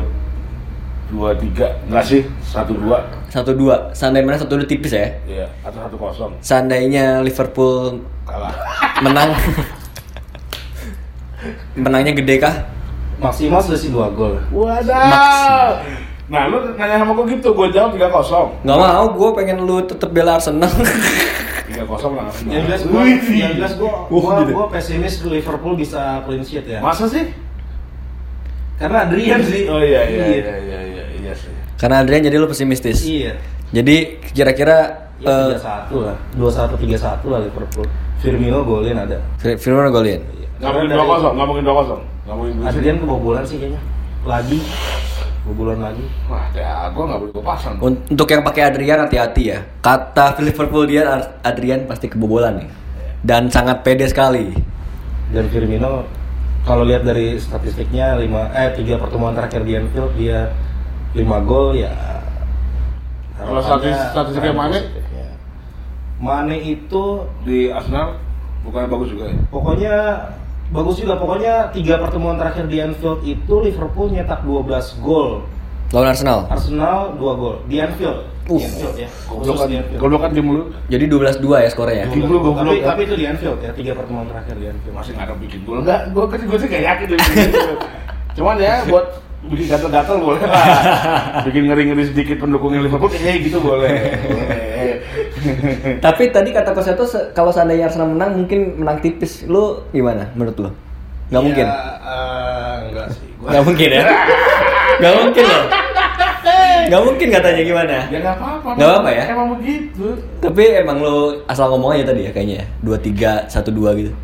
[SPEAKER 4] dua tiga nggak sih satu dua
[SPEAKER 1] 1-2. Seandainya menang 1-2 tipis ya.
[SPEAKER 4] iya atau satu kosong
[SPEAKER 1] Seandainya Liverpool
[SPEAKER 4] kalah
[SPEAKER 1] menang. Menangnya gede kah?
[SPEAKER 6] Maksimal sudah sih dua gol.
[SPEAKER 4] Wadah. Nah, lu nanya sama gue gitu, gue jawab 3 kosong.
[SPEAKER 1] Nggak mau, gue pengen lu tetep bela Arsenal.
[SPEAKER 4] 3 kosong lah.
[SPEAKER 6] Yang Iya, jelas gua, yang jelas gua, gua, gua pesimis Liverpool bisa clean sheet ya.
[SPEAKER 4] Masa sih?
[SPEAKER 6] Karena Adrian sih.
[SPEAKER 4] Oh iya iya iya iya iya, iya sih.
[SPEAKER 1] Karena Adrian jadi lu pesimistis.
[SPEAKER 6] Iya.
[SPEAKER 1] Jadi kira-kira
[SPEAKER 4] Iya,
[SPEAKER 6] Ya, tiga
[SPEAKER 5] Iya,
[SPEAKER 6] satu lah, dua satu tiga satu lah Liverpool. Firmino golin ada.
[SPEAKER 1] eh, Firmino golin.
[SPEAKER 4] Nggak mungkin 2 kosong, nggak mungkin 2 kosong. Nggak mungkin dua
[SPEAKER 6] Adrian kebobolan sih kayaknya. Lagi kebobolan lagi.
[SPEAKER 4] Wah, ya gue nggak boleh gue pasang.
[SPEAKER 1] Un- Untuk yang pakai Adrian hati-hati ya. Kata Liverpool dia Ar- Adrian pasti kebobolan nih. Dan sangat pede sekali.
[SPEAKER 6] Dan Firmino kalau lihat dari statistiknya lima eh tiga pertemuan terakhir di Anfield dia lima gol ya.
[SPEAKER 4] Kalau
[SPEAKER 6] harapannya
[SPEAKER 4] statis- statistiknya
[SPEAKER 6] tren
[SPEAKER 4] Mane?
[SPEAKER 6] positifnya. Mane itu
[SPEAKER 4] Di Arsenal bukannya bagus juga ya?
[SPEAKER 6] Pokoknya bagus juga. Pokoknya tiga pertemuan terakhir di Anfield itu Liverpool nyetak 12 gol,
[SPEAKER 1] Lawan Arsenal.
[SPEAKER 6] Arsenal 2 gol di Anfield. Di
[SPEAKER 1] Uff.
[SPEAKER 6] Anfield ya. Khusus
[SPEAKER 4] Goblokan,
[SPEAKER 6] di Anfield.
[SPEAKER 4] goblokan tim lu
[SPEAKER 1] Jadi 12-2 ya skornya ya.
[SPEAKER 4] Gol. kan- Goblok, goblok.
[SPEAKER 6] Tapi, tapi itu di Anfield ya, tiga pertemuan terakhir di Anfield.
[SPEAKER 4] masih nggak ada bikin gol nggak? Gue kan gue sih nggak yakin dia bikin gol. Cuman ya buat bikin gatal-gatal boleh lah. Bikin ngeri-ngeri sedikit pendukungnya Liverpool, eh gitu boleh. Boleh.
[SPEAKER 1] Tapi tadi kata Coach Seto, se- kalau seandainya Arsenal menang mungkin menang tipis. Lu gimana menurut lu? Nggak
[SPEAKER 5] Iya,
[SPEAKER 6] Ya,
[SPEAKER 1] mungkin.
[SPEAKER 6] eh, enggak sih. Gua
[SPEAKER 1] Nggak mungkin ya. Nggak mungkin loh. Nggak mungkin katanya gimana.
[SPEAKER 4] Ya nggak apa-apa.
[SPEAKER 1] Nggak apa-apa ya?
[SPEAKER 4] Emang begitu.
[SPEAKER 1] Tapi emang lu asal ngomong aja tadi ya kayaknya ya. 2 3 1 2 gitu.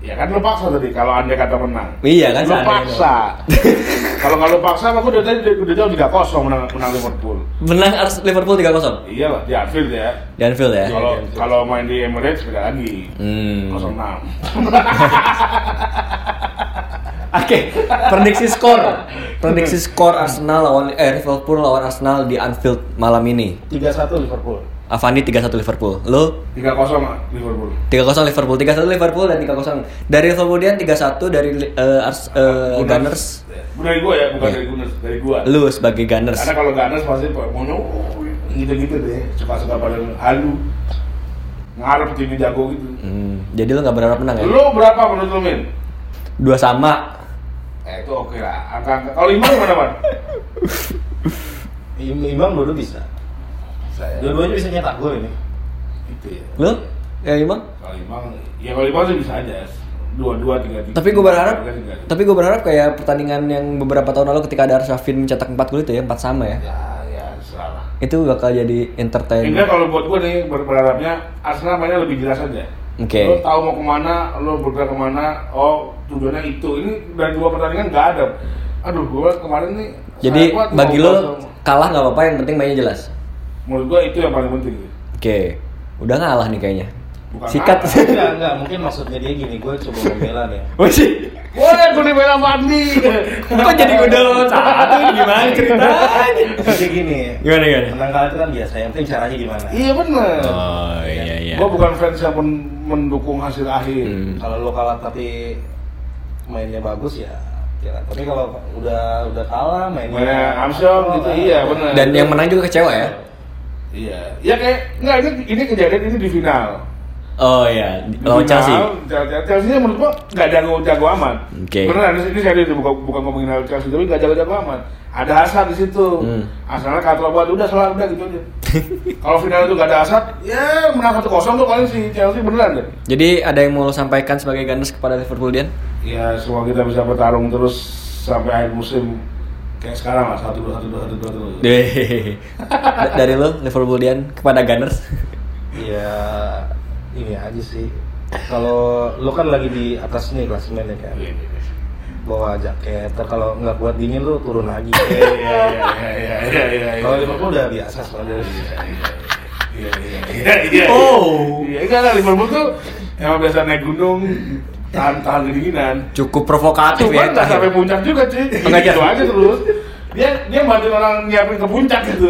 [SPEAKER 4] Ya kan lu paksa tadi kalau andai kata menang.
[SPEAKER 1] Iya kan
[SPEAKER 4] Lu
[SPEAKER 1] seandainya
[SPEAKER 4] paksa. kalau nggak lu paksa, aku udah tadi udah jauh tiga kosong menang menang Liverpool.
[SPEAKER 1] Menang Ars- Liverpool 3-0
[SPEAKER 4] Iyalah di Anfield ya.
[SPEAKER 1] di Anfield ya.
[SPEAKER 4] Kalau kalau main di Emirates beda lagi.
[SPEAKER 1] Hmm.
[SPEAKER 4] Kosong enam.
[SPEAKER 1] Oke, prediksi skor. Prediksi skor Arsenal lawan eh, Liverpool lawan Arsenal di Anfield malam ini.
[SPEAKER 6] 3-1 Liverpool.
[SPEAKER 1] Avani 3-1 Liverpool. Lo
[SPEAKER 4] tiga kosong Liverpool
[SPEAKER 1] 3-0 Liverpool, 3-1 Liverpool dan 3-0. Dari kemudian 3-1 dari eh, Ars- eh, Gunners.
[SPEAKER 4] dari gua
[SPEAKER 1] Iya.
[SPEAKER 4] ya bukan dari Gunners dari gua
[SPEAKER 1] Lu sebagai Gunners.
[SPEAKER 4] karena kalau Gunners pasti mono oh, gitu-gitu deh suka-suka pada halu ngarep tim jago gitu
[SPEAKER 1] Hmm, jadi lu nggak berharap menang ya?
[SPEAKER 4] Lu berapa menurut lu, Min?
[SPEAKER 1] Dua sama.
[SPEAKER 4] Eh, itu oke lah. Angka-angka. Kalau Imam gimana, Man?
[SPEAKER 5] Im- Imam dulu bisa.
[SPEAKER 4] Saya
[SPEAKER 5] Dua-duanya bisa nyetak gol ini.
[SPEAKER 4] gitu ya.
[SPEAKER 1] Lu? Ya Imam?
[SPEAKER 4] Kalau Imam, ya kalau Imam sih bisa aja. Dua-dua, tiga-tiga.
[SPEAKER 1] Tapi gue berharap,
[SPEAKER 4] Tiga-tiga.
[SPEAKER 1] tapi gue berharap kayak pertandingan yang beberapa tahun lalu ketika ada Arsafin mencetak 4 gol itu ya, 4 sama ya.
[SPEAKER 4] Ya, ya, salah.
[SPEAKER 1] Itu bakal jadi
[SPEAKER 4] Enggak
[SPEAKER 1] entertain.
[SPEAKER 4] kalau buat gue nih ber- berharapnya Arsenal mainnya lebih jelas aja.
[SPEAKER 1] Oke.
[SPEAKER 4] Lo tahu mau kemana, lo bergerak kemana, oh tujuannya itu. Ini dari dua pertandingan nggak ada. Aduh, gue kemarin nih.
[SPEAKER 1] Jadi
[SPEAKER 4] sangat kuat
[SPEAKER 1] bagi
[SPEAKER 4] mau
[SPEAKER 1] lu
[SPEAKER 4] bahas-
[SPEAKER 1] kalah nggak apa-apa, yang penting mainnya jelas.
[SPEAKER 4] Menurut gue itu yang paling penting.
[SPEAKER 1] Oke, udah ngalah nih kayaknya.
[SPEAKER 4] Bukan
[SPEAKER 1] Sikat.
[SPEAKER 4] ngalah.
[SPEAKER 5] Enggak, enggak. Mungkin maksudnya dia gini, gue coba membela nih.
[SPEAKER 1] Wih, sih.
[SPEAKER 4] Wah, gue dibela Fandi.
[SPEAKER 1] kok jadi udah lawan satu ini gimana ceritanya?
[SPEAKER 5] Jadi gini,
[SPEAKER 1] Gimana gimana?
[SPEAKER 5] menang kalah itu kan biasa. Yang penting caranya gimana.
[SPEAKER 4] Iya benar.
[SPEAKER 1] Oh iya iya.
[SPEAKER 4] Gue bukan fans yang men- mendukung hasil akhir.
[SPEAKER 1] Hmm.
[SPEAKER 5] Kalau lo kalah tapi mainnya bagus ya kira. Tapi kalau udah udah kalah mainnya
[SPEAKER 4] Mainnya Armstrong gitu, iya benar.
[SPEAKER 1] Oh, Dan yang menang juga kecewa ya.
[SPEAKER 4] Iya. Ya kayak nggak ini, ini kejadian ini di final.
[SPEAKER 1] Oh iya,
[SPEAKER 4] Di
[SPEAKER 1] lawan
[SPEAKER 4] final,
[SPEAKER 1] Chelsea.
[SPEAKER 4] Chelsea Chelsea menurut gua nggak jago-jago amat.
[SPEAKER 1] Oke.
[SPEAKER 4] Beneran ini ini serius bukan bukan ngomongin hal Chelsea tapi nggak jago-jago amat. Ada Hasan di situ.
[SPEAKER 1] Hmm.
[SPEAKER 4] Asalnya kalau buat udah salah udah gitu aja. kalau final itu nggak ada Hasan, ya menang 1-0 tuh paling si Chelsea beneran deh.
[SPEAKER 1] Jadi ada yang mau lo sampaikan sebagai Gunners kepada Liverpool Dian?
[SPEAKER 4] Ya semoga kita bisa bertarung terus sampai akhir musim kayak sekarang lah satu dua satu dua satu dua terus.
[SPEAKER 1] Deh. Da- Dari lo Liverpool Dian kepada Gunners.
[SPEAKER 5] Ya ini aja sih. Kalau lo kan lagi di atas nih klasemen ya kan. Bawa jaket. Ntar kalau nggak kuat dingin lo turun lagi.
[SPEAKER 4] iya.
[SPEAKER 5] Kalau Oh, Liverpool udah biasa soalnya.
[SPEAKER 4] Iya, Oh. Iya, enggak lah Liverpool tuh emang biasa naik gunung tahan tahan kedinginan.
[SPEAKER 1] Cukup provokatif
[SPEAKER 4] Cuman
[SPEAKER 1] ya.
[SPEAKER 4] nggak
[SPEAKER 1] terakhir.
[SPEAKER 4] sampai puncak juga cuy.
[SPEAKER 1] Enggak,
[SPEAKER 4] gitu
[SPEAKER 1] Jas.
[SPEAKER 4] aja terus. Dia dia bantuin orang nyiapin ke puncak gitu.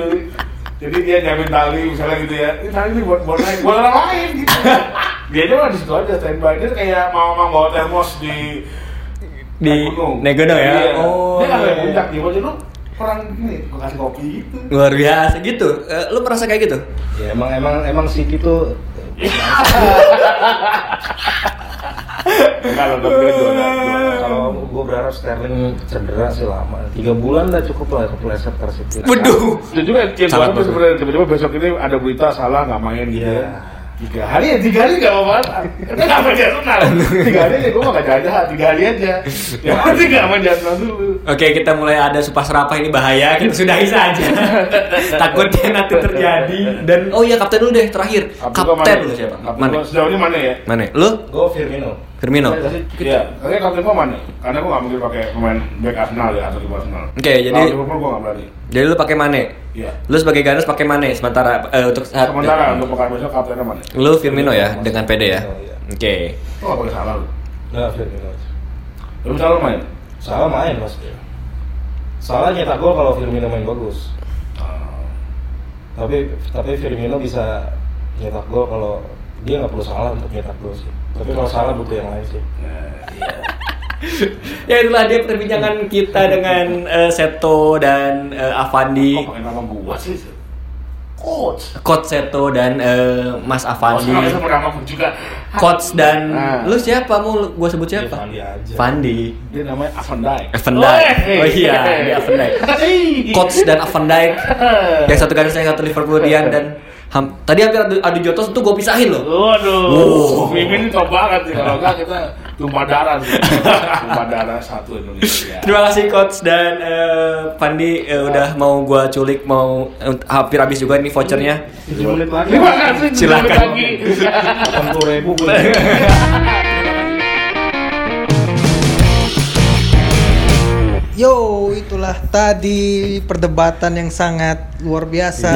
[SPEAKER 4] Jadi dia nyiapin tali misalnya gitu ya. Ini tali ini buat buat naik buat orang lain gitu. Dia aja mah di situ aja standby. Dia kayak mau mau bawa termos di
[SPEAKER 1] Di
[SPEAKER 4] naik gunung.
[SPEAKER 1] naik gunung ya?
[SPEAKER 4] Iya.
[SPEAKER 1] Oh,
[SPEAKER 4] Dia nggak
[SPEAKER 1] iya,
[SPEAKER 4] sampai
[SPEAKER 1] iya.
[SPEAKER 4] puncak dia aja lu orang gini gua kasih kopi gitu.
[SPEAKER 1] Luar biasa gitu. Eh, lo merasa kayak gitu?
[SPEAKER 5] Ya emang emang emang City tuh
[SPEAKER 4] Kalau dokter dua dua-
[SPEAKER 5] kalau gue berharap Sterling cedera sih lama. Tiga bulan lah cukup lah kepleset ter City.
[SPEAKER 1] Waduh.
[SPEAKER 4] Dan juga yang
[SPEAKER 1] Sangat
[SPEAKER 4] gua tuh
[SPEAKER 1] bagus.
[SPEAKER 4] sebenarnya tiba-tiba besok ini ada berita salah nggak main gitu.
[SPEAKER 5] Iya.
[SPEAKER 4] ya. Tiga hari ya tiga hari nggak apa-apa. Kan nggak main jatuh Tiga hari ya gue mah nggak jalan tiga hari aja. Ya pasti nggak main jatuh dulu.
[SPEAKER 1] Oke, kita mulai ada supas serapah ini bahaya. Kita sudahi saja. Takutnya nanti terjadi. Dan oh iya kapten dulu deh terakhir.
[SPEAKER 4] gua
[SPEAKER 1] Kapten lu siapa?
[SPEAKER 4] Kapten
[SPEAKER 1] Mane.
[SPEAKER 4] gua sejauh ini mana ya?
[SPEAKER 1] Mane. Lu
[SPEAKER 5] Gue Firmino.
[SPEAKER 1] Firmino.
[SPEAKER 4] Iya, tapi kapten gue mana? Karena gue nggak mungkin pakai pemain back Arsenal ya atau di Arsenal.
[SPEAKER 1] Oke, jadi-
[SPEAKER 4] Kalau Liverpool gue nggak berani.
[SPEAKER 1] Jadi lu pakai Mane.
[SPEAKER 4] Iya.
[SPEAKER 1] Lu sebagai Gunners pakai Mane sementara eh, untuk saat
[SPEAKER 4] Sementara untuk pekan besok kaptennya mana?
[SPEAKER 1] Lu Firmino ya dengan PD ya.
[SPEAKER 5] Firmino, iya.
[SPEAKER 1] Oke.
[SPEAKER 4] Lo nggak boleh salah lu.
[SPEAKER 5] Nah Firmino.
[SPEAKER 4] Lu salah lu main.
[SPEAKER 5] Salah main maksudnya. Salah nyetak gol kalau Firmino main bagus. Tapi tapi Firmino bisa nyetak gol kalau dia nggak perlu salah untuk nyetak gol sih. Tapi kalau salah butuh yang lain sih.
[SPEAKER 1] Ya itulah dia perbincangan kita dengan eh, Seto dan eh, Avandi,
[SPEAKER 4] Kok pakai nama gue sih? Coach.
[SPEAKER 1] Coach Seto dan eh, Mas
[SPEAKER 4] Coach
[SPEAKER 1] Avandi,
[SPEAKER 4] nggak bisa bernama pun juga.
[SPEAKER 1] Coach dan
[SPEAKER 4] Ah.
[SPEAKER 1] lu siapa mau lu- gua sebut siapa?
[SPEAKER 4] Iya,
[SPEAKER 5] Fandi aja.
[SPEAKER 1] Fandi.
[SPEAKER 4] Dia namanya Van Dijk.
[SPEAKER 1] Van Dijk.
[SPEAKER 4] eh,
[SPEAKER 1] Oh iya, dia Van Dijk. Coach dan Van Dijk. Yang satu Gunners yang satu Liverpool Dian dan ham- tadi hampir adu, adu jotos itu gua pisahin loh.
[SPEAKER 4] Waduh,
[SPEAKER 1] Wow.
[SPEAKER 4] Mimin ini top banget sih kalau enggak kita tumpah darah sih. tumpah darah satu Indonesia.
[SPEAKER 1] Terima kasih coach dan eh, Pandi eh, udah mau gua culik mau eh, hampir habis juga ini vouchernya.
[SPEAKER 5] Tujuh menit lagi.
[SPEAKER 4] Terima kasih.
[SPEAKER 1] Silakan.
[SPEAKER 4] jumpa lagi.
[SPEAKER 5] Delapan puluh ribu.
[SPEAKER 3] Yo, itulah tadi perdebatan yang sangat luar biasa.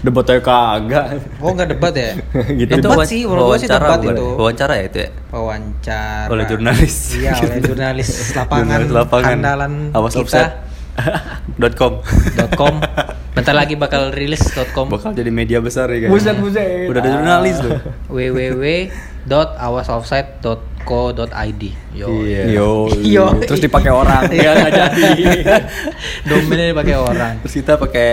[SPEAKER 1] Debatnya kagak.
[SPEAKER 3] Oh, nggak debat ya?
[SPEAKER 1] Gitu.
[SPEAKER 3] Debat sih, menurut gua sih debat
[SPEAKER 2] bukan
[SPEAKER 3] itu.
[SPEAKER 2] ya? Wawancara ya itu ya?
[SPEAKER 3] Wawancara.
[SPEAKER 2] Oleh jurnalis.
[SPEAKER 3] Iya, oleh jurnalis lapangan.
[SPEAKER 2] Jurnalis lapangan.
[SPEAKER 3] Andalan
[SPEAKER 2] Awas
[SPEAKER 3] kita.
[SPEAKER 2] offset. dot com
[SPEAKER 3] .com bentar lagi bakal rilis .com
[SPEAKER 2] bakal jadi media besar ya guys
[SPEAKER 1] Buset, buset.
[SPEAKER 2] udah ada jurnalis tuh
[SPEAKER 3] www.awasoffside.co.id yo iya.
[SPEAKER 1] Yo,
[SPEAKER 3] Yo. iya.
[SPEAKER 1] terus dipakai orang.
[SPEAKER 2] Iya.
[SPEAKER 1] ya nggak jadi.
[SPEAKER 3] domainnya dipakai orang
[SPEAKER 2] terus kita pakai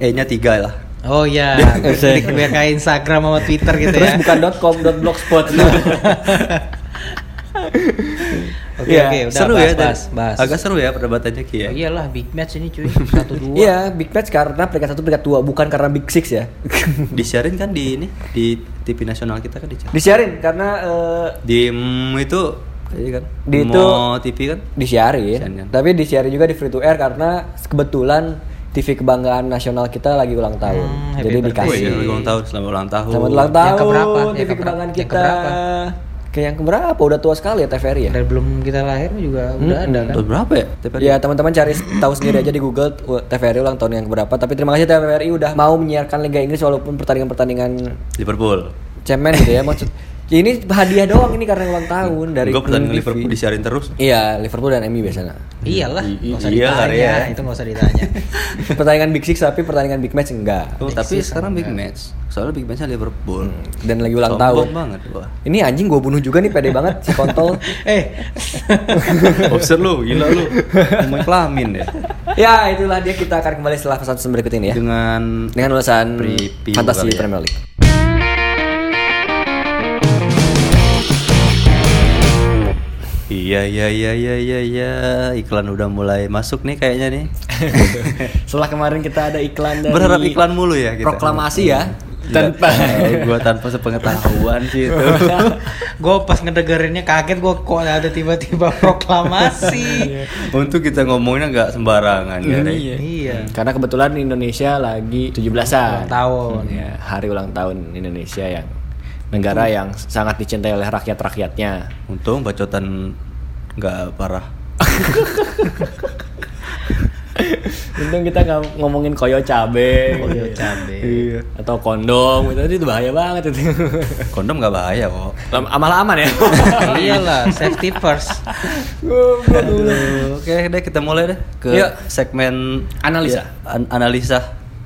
[SPEAKER 2] e nya tiga lah
[SPEAKER 3] oh iya
[SPEAKER 1] Bisa.
[SPEAKER 3] biar kayak Instagram sama Twitter gitu
[SPEAKER 1] terus
[SPEAKER 3] ya
[SPEAKER 1] bukan .com, .blogspot.
[SPEAKER 3] oke
[SPEAKER 1] Iya,
[SPEAKER 3] oke udah
[SPEAKER 2] seru
[SPEAKER 3] bahas,
[SPEAKER 2] ya dan-
[SPEAKER 3] bahas bahas
[SPEAKER 2] agak seru ya perdebatannya Ki ya
[SPEAKER 3] Oh, iyalah big match ini cuy satu dua
[SPEAKER 1] Iya, big match karena peringkat satu peringkat dua bukan karena big six ya.
[SPEAKER 2] disiarin kan di ini di TV nasional kita kan disiarin
[SPEAKER 1] Disiarin karena eh, iya
[SPEAKER 2] di mm, itu kayaknya kan
[SPEAKER 1] Di itu-
[SPEAKER 2] Mo TV kan
[SPEAKER 1] disiarin,
[SPEAKER 2] Disiarin kan.
[SPEAKER 1] tapi disiarin juga di free to air karena kebetulan TV kebanggaan nasional kita lagi ulang tahun.
[SPEAKER 3] Hmm, happy
[SPEAKER 1] Jadi
[SPEAKER 3] birthday.
[SPEAKER 1] dikasih.
[SPEAKER 2] Wih, Oh
[SPEAKER 3] Kasih.
[SPEAKER 2] iya, ulang tahun selamat ulang tahun
[SPEAKER 1] Selamat ulang
[SPEAKER 3] Yang
[SPEAKER 1] tahun
[SPEAKER 3] keberapa?
[SPEAKER 1] TV
[SPEAKER 3] Yang keberapa?
[SPEAKER 1] kebanggaan
[SPEAKER 3] Yang
[SPEAKER 1] kita.
[SPEAKER 3] keberapa?
[SPEAKER 1] Ke yang keberapa? Udah tua sekali ya TVRI ya?
[SPEAKER 3] dari belum kita lahir juga udah ada kan
[SPEAKER 2] Tahun berapa ya TPRI?
[SPEAKER 1] Ya teman-teman cari tahu sendiri aja di Google uh, TVRI ulang tahun yang keberapa. Tapi terima kasih TVRI udah mau menyiarkan Liga Inggris walaupun pertandingan-pertandingan
[SPEAKER 2] Liverpool
[SPEAKER 1] cemen gitu ya maksud. Ini hadiah doang ini karena ulang tahun dari
[SPEAKER 2] gue pertandingan
[SPEAKER 1] Queen
[SPEAKER 2] Liverpool
[SPEAKER 1] TV.
[SPEAKER 2] disiarin terus
[SPEAKER 1] Iya, Liverpool dan MU biasanya.
[SPEAKER 3] iyalah
[SPEAKER 2] I-
[SPEAKER 3] nggak usah
[SPEAKER 2] iya,
[SPEAKER 3] ditanya
[SPEAKER 2] Arya.
[SPEAKER 3] itu nggak usah ditanya
[SPEAKER 1] pertandingan Big Six tapi pertandingan Big Match enggak.
[SPEAKER 2] Oh, tapi sekarang big match soalnya big matchnya Liverpool
[SPEAKER 1] Dan lagi Hmm. ulang
[SPEAKER 2] Sombong
[SPEAKER 1] tahun.
[SPEAKER 2] banget gua
[SPEAKER 1] Ini anjing gue bunuh juga nih pede banget si kontol.
[SPEAKER 3] eh
[SPEAKER 2] Boxer lu, gila lu. Mau kelamin deh.
[SPEAKER 1] ya, itulah dia kita akan kembali setelah pesan pesan berikut ini ya.
[SPEAKER 2] Dengan
[SPEAKER 1] Dengan ulasan
[SPEAKER 2] Preview
[SPEAKER 1] Fantasi
[SPEAKER 2] kali ya.
[SPEAKER 1] Premier League.
[SPEAKER 2] Iya iya iya iya iya iya iklan udah mulai masuk nih kayaknya nih.
[SPEAKER 1] Setelah kemarin kita ada iklan dari
[SPEAKER 2] Berharap iklan mulu ya kita.
[SPEAKER 1] Proklamasi ya.
[SPEAKER 2] tanpa gua tanpa sepengetahuan sih itu.
[SPEAKER 3] gue pas ngedengerinnya kaget gue kok ada tiba-tiba proklamasi
[SPEAKER 2] Untuk kita ngomongnya nggak sembarangan ya. Ray.
[SPEAKER 3] iya
[SPEAKER 1] Karena kebetulan Indonesia lagi 17-an.
[SPEAKER 3] Ulang tahun.
[SPEAKER 1] Ya, hari ulang tahun Indonesia yang negara yang sangat dicintai oleh rakyat-rakyatnya.
[SPEAKER 2] Untung bacotan nggak parah.
[SPEAKER 1] Untung kita nggak ngomongin koyo cabe,
[SPEAKER 3] Koyo cabe.
[SPEAKER 1] Iya. atau kondom gitu itu bahaya banget itu.
[SPEAKER 2] Kondom nggak bahaya kok.
[SPEAKER 1] Lam- Malah aman ya.
[SPEAKER 3] iyalah safety first
[SPEAKER 2] Aduh, Oke deh kita mulai deh ke
[SPEAKER 1] Yuk.
[SPEAKER 2] segmen
[SPEAKER 1] Iya. Analisa.
[SPEAKER 2] Ya, an- analisa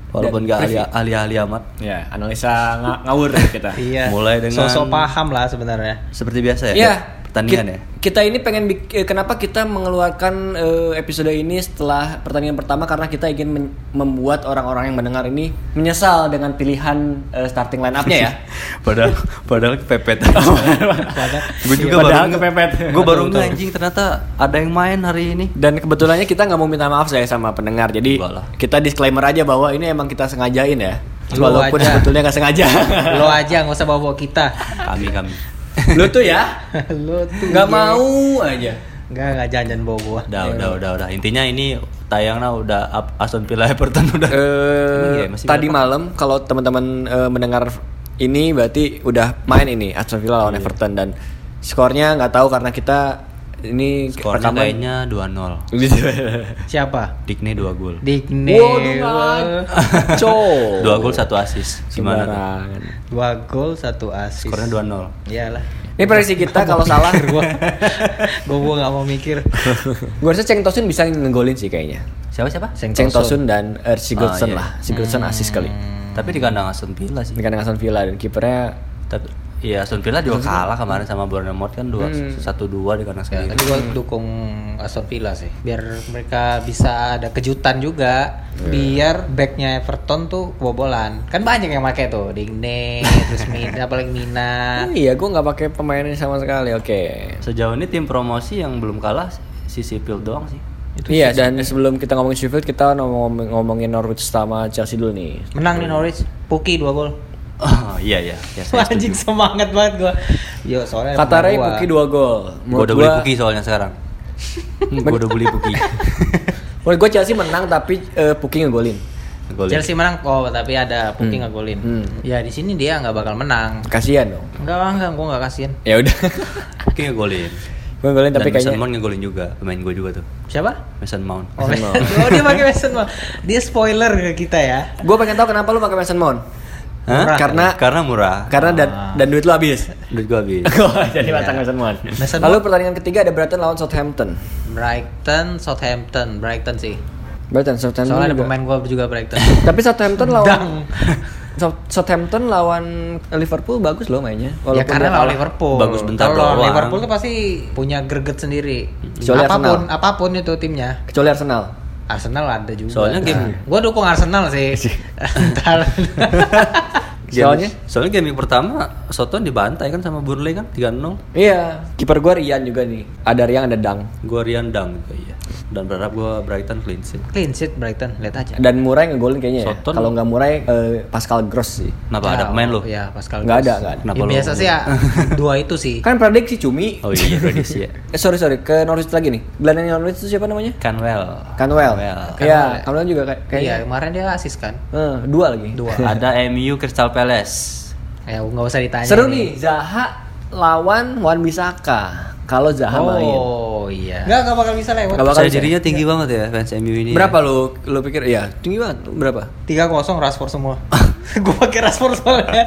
[SPEAKER 2] walaupun nggak ahli, ahli ahli amat.
[SPEAKER 1] ya, analisa nga- ngawur kita.
[SPEAKER 3] iya
[SPEAKER 2] Mulai dengan-
[SPEAKER 3] sosok paham lah sebenarnya
[SPEAKER 2] Seperti biasa ya.
[SPEAKER 1] Iya.
[SPEAKER 2] Pertandingan
[SPEAKER 1] Ki-
[SPEAKER 2] ya.
[SPEAKER 1] Kita ini pengen bik- eh, kenapa kita mengeluarkan eh, episode ini setelah pertandingan pertama karena kita ingin men- membuat orang-orang yang mendengar ini menyesal dengan pilihan eh, starting line up-nya ya.
[SPEAKER 2] padahal padahal kepepet gue juga
[SPEAKER 1] Padahal
[SPEAKER 2] baru
[SPEAKER 1] kepepet.
[SPEAKER 2] gue baru
[SPEAKER 1] Betul,
[SPEAKER 2] nge-
[SPEAKER 1] betul.
[SPEAKER 2] anjing ternyata ada yang main hari ini
[SPEAKER 1] Dan kebetulannya kita nggak mau minta maaf saya sama pendengar. Jadi
[SPEAKER 2] Enggak lah.
[SPEAKER 1] kita disclaimer aja bahwa ini emang kita sengajain ya.
[SPEAKER 3] Lu
[SPEAKER 1] Walaupun
[SPEAKER 3] aja.
[SPEAKER 1] sebetulnya nggak sengaja.
[SPEAKER 3] lo aja nggak usah bawa bawa kita
[SPEAKER 2] kami kami
[SPEAKER 1] Lu tuh ya
[SPEAKER 3] lo tuh
[SPEAKER 2] Iya.
[SPEAKER 1] nggak mau aja.
[SPEAKER 3] nggak nggak janjian bawa Iya. bawa
[SPEAKER 2] udah udah udah udah intinya ini tayangnya udah up- Aston Villa Everton udah Emang iya,
[SPEAKER 1] Eh,
[SPEAKER 2] masih
[SPEAKER 1] tadi
[SPEAKER 2] berapa?
[SPEAKER 1] malam kalau teman-teman eh, mendengar ini berarti udah main ini Aston Villa
[SPEAKER 2] Iya.
[SPEAKER 1] lawan Everton dan skornya nggak tahu karena kita ini
[SPEAKER 2] skornya kayaknya 2-0
[SPEAKER 3] siapa
[SPEAKER 2] Digne 2 gol
[SPEAKER 3] Digne
[SPEAKER 1] Waduh, ngaco.
[SPEAKER 2] 2 gol 1 assist gimana tuh?
[SPEAKER 1] Sembarangan.
[SPEAKER 3] dua gol satu asis
[SPEAKER 2] skornya 2-0
[SPEAKER 3] iyalah
[SPEAKER 1] Ini prediksi kita kalau salah
[SPEAKER 3] gue gue nggak mau mikir
[SPEAKER 1] Gue rasa Ceng Tosun bisa ngegolin sih kayaknya.
[SPEAKER 2] siapa siapa
[SPEAKER 1] Ceng, Tosun dan er, Sigurdsson
[SPEAKER 2] Ah, iya. Hmm.
[SPEAKER 1] lah. Sigurdsson asis kali.
[SPEAKER 2] tapi di kandang Aston Villa sih
[SPEAKER 1] Di kandang Aston Villa dan kipernya
[SPEAKER 2] tapi Iya, Aston Villa juga kalah kemarin sama Bournemouth kan 2 1-2 di kandang
[SPEAKER 3] Ya,
[SPEAKER 2] sendiri.
[SPEAKER 3] tapi gue dukung Aston Villa sih. Biar mereka bisa ada kejutan juga. Biar backnya Everton tuh kebobolan. Kan banyak yang pakai tuh, Digne, terus Mina, apalagi Mina.
[SPEAKER 1] Oh iya, gue nggak pakai pemainnya sama sekali. Oke.
[SPEAKER 2] Sejauh ini tim promosi yang belum kalah si Sheffield doang sih.
[SPEAKER 1] Iya, dan sebelum kita ngomongin Sheffield, kita ngomong ngomongin Norwich sama Chelsea dulu nih.
[SPEAKER 3] Menang nih Norwich, Puki dua gol.
[SPEAKER 2] Oh, iya iya. Ya, saya
[SPEAKER 3] Wah,
[SPEAKER 2] setuju.
[SPEAKER 3] Anjing semangat banget gua. Yo, soalnya
[SPEAKER 1] Kata Ray
[SPEAKER 3] Eh, gua-
[SPEAKER 1] Puki 2 gol.
[SPEAKER 2] Gua
[SPEAKER 1] Menurut
[SPEAKER 2] udah beli Puki soalnya sekarang. gua udah beli Puki.
[SPEAKER 1] Menurut gue Chelsea menang tapi eh, Puki ngegolin.
[SPEAKER 2] Golin.
[SPEAKER 3] Chelsea menang, oh tapi ada Puki ngegolin.
[SPEAKER 1] Hmm.
[SPEAKER 3] Ya di sini dia nggak bakal menang.
[SPEAKER 1] Kasihan dong.
[SPEAKER 3] Enggak, enggak, gua nggak kasihan.
[SPEAKER 1] Ya udah.
[SPEAKER 2] Puki ngegolin.
[SPEAKER 1] gue ngegolin tapi
[SPEAKER 2] Dan Mason
[SPEAKER 1] kayaknya
[SPEAKER 2] Mount ngegolin juga, pemain gua juga tuh.
[SPEAKER 3] Siapa?
[SPEAKER 2] Mason Mount.
[SPEAKER 3] Oh, oh, dia pakai Mason Mount. Dia spoiler ke kita ya.
[SPEAKER 1] gue pengen tahu kenapa lu pakai Mason Mount.
[SPEAKER 2] Hah?
[SPEAKER 1] Murah.
[SPEAKER 2] Karena karena murah.
[SPEAKER 1] Karena dan dan duit lu habis.
[SPEAKER 2] Duit gua habis.
[SPEAKER 1] Jadi pasang Mason Mount.
[SPEAKER 3] Mason
[SPEAKER 1] Lalu pertandingan ketiga ada Brighton lawan Southampton.
[SPEAKER 3] Brighton, Southampton, Brighton sih.
[SPEAKER 1] Berarti Southampton.
[SPEAKER 3] Soalnya ada
[SPEAKER 1] juga.
[SPEAKER 3] pemain gua juga Brighton.
[SPEAKER 1] Tapi Southampton
[SPEAKER 3] Dang.
[SPEAKER 1] lawan South- Southampton lawan Liverpool bagus loh mainnya.
[SPEAKER 3] ya
[SPEAKER 1] dia
[SPEAKER 3] karena lawan
[SPEAKER 1] kalah.
[SPEAKER 3] Liverpool.
[SPEAKER 2] Bagus bentar
[SPEAKER 3] Kalau lawan
[SPEAKER 2] doang.
[SPEAKER 3] Liverpool tuh pasti punya greget sendiri.
[SPEAKER 1] Kecuali
[SPEAKER 3] apapun,
[SPEAKER 1] Arsenal.
[SPEAKER 3] apapun itu timnya.
[SPEAKER 1] kecuali Arsenal.
[SPEAKER 3] Arsenal ada juga. Nah,
[SPEAKER 2] Soalnya game- Iya.
[SPEAKER 3] Gua dukung Arsenal sih. Ntar.
[SPEAKER 2] Game-
[SPEAKER 1] Soalnya
[SPEAKER 2] soalnya game week pertama Soton dibantai kan sama Burnley kan 3-0.
[SPEAKER 1] iya, kiper gua Rian juga nih. Ada Rian ada Dang.
[SPEAKER 2] Gua Rian Dang juga iya. Dan berharap gua Brighton clean sheet.
[SPEAKER 3] Clean sheet Brighton, lihat aja.
[SPEAKER 1] Dan Murai ngegolin kayaknya ya.
[SPEAKER 2] Soton.
[SPEAKER 1] Kalau nggak Murai eh, Pascal Gross sih.
[SPEAKER 2] Kenapa ada
[SPEAKER 3] Ya,
[SPEAKER 2] pemain lu?
[SPEAKER 1] iya.
[SPEAKER 3] Ya, Pascal.
[SPEAKER 1] Nggak ada,
[SPEAKER 3] Gross.
[SPEAKER 1] nggak ada.
[SPEAKER 2] Kenapa
[SPEAKER 3] Ya,
[SPEAKER 2] lu-
[SPEAKER 3] biasa sih ya dua itu sih.
[SPEAKER 1] Kan prediksi Cumi.
[SPEAKER 2] Oh iya, prediksi ya.
[SPEAKER 1] Eh sorry sorry ke Norwich lagi nih. Gelandang Norwich itu siapa namanya?
[SPEAKER 2] Canwell.
[SPEAKER 1] Canwell.
[SPEAKER 2] Canwell.
[SPEAKER 1] Iya, Canwell juga kayak kayaknya.
[SPEAKER 3] Iya, kemarin dia asis kan.
[SPEAKER 1] Eh, dua lagi.
[SPEAKER 3] Dua.
[SPEAKER 2] Ada MU Crystal Palace.
[SPEAKER 3] Ya nggak usah ditanya.
[SPEAKER 1] Seru nih Zaha lawan Wan Bisaka. Kalau Zaha main.
[SPEAKER 3] Oh iya. Enggak enggak bakal bisa lewat.
[SPEAKER 1] Nggak bakal
[SPEAKER 2] Saya
[SPEAKER 1] bisa.
[SPEAKER 2] jadinya tinggi banget ya fans MU ini.
[SPEAKER 1] Berapa lu lu pikir? Ya, tinggi banget. Berapa?
[SPEAKER 3] 3-0 Rashford semua. gua pakai Rashford soalnya.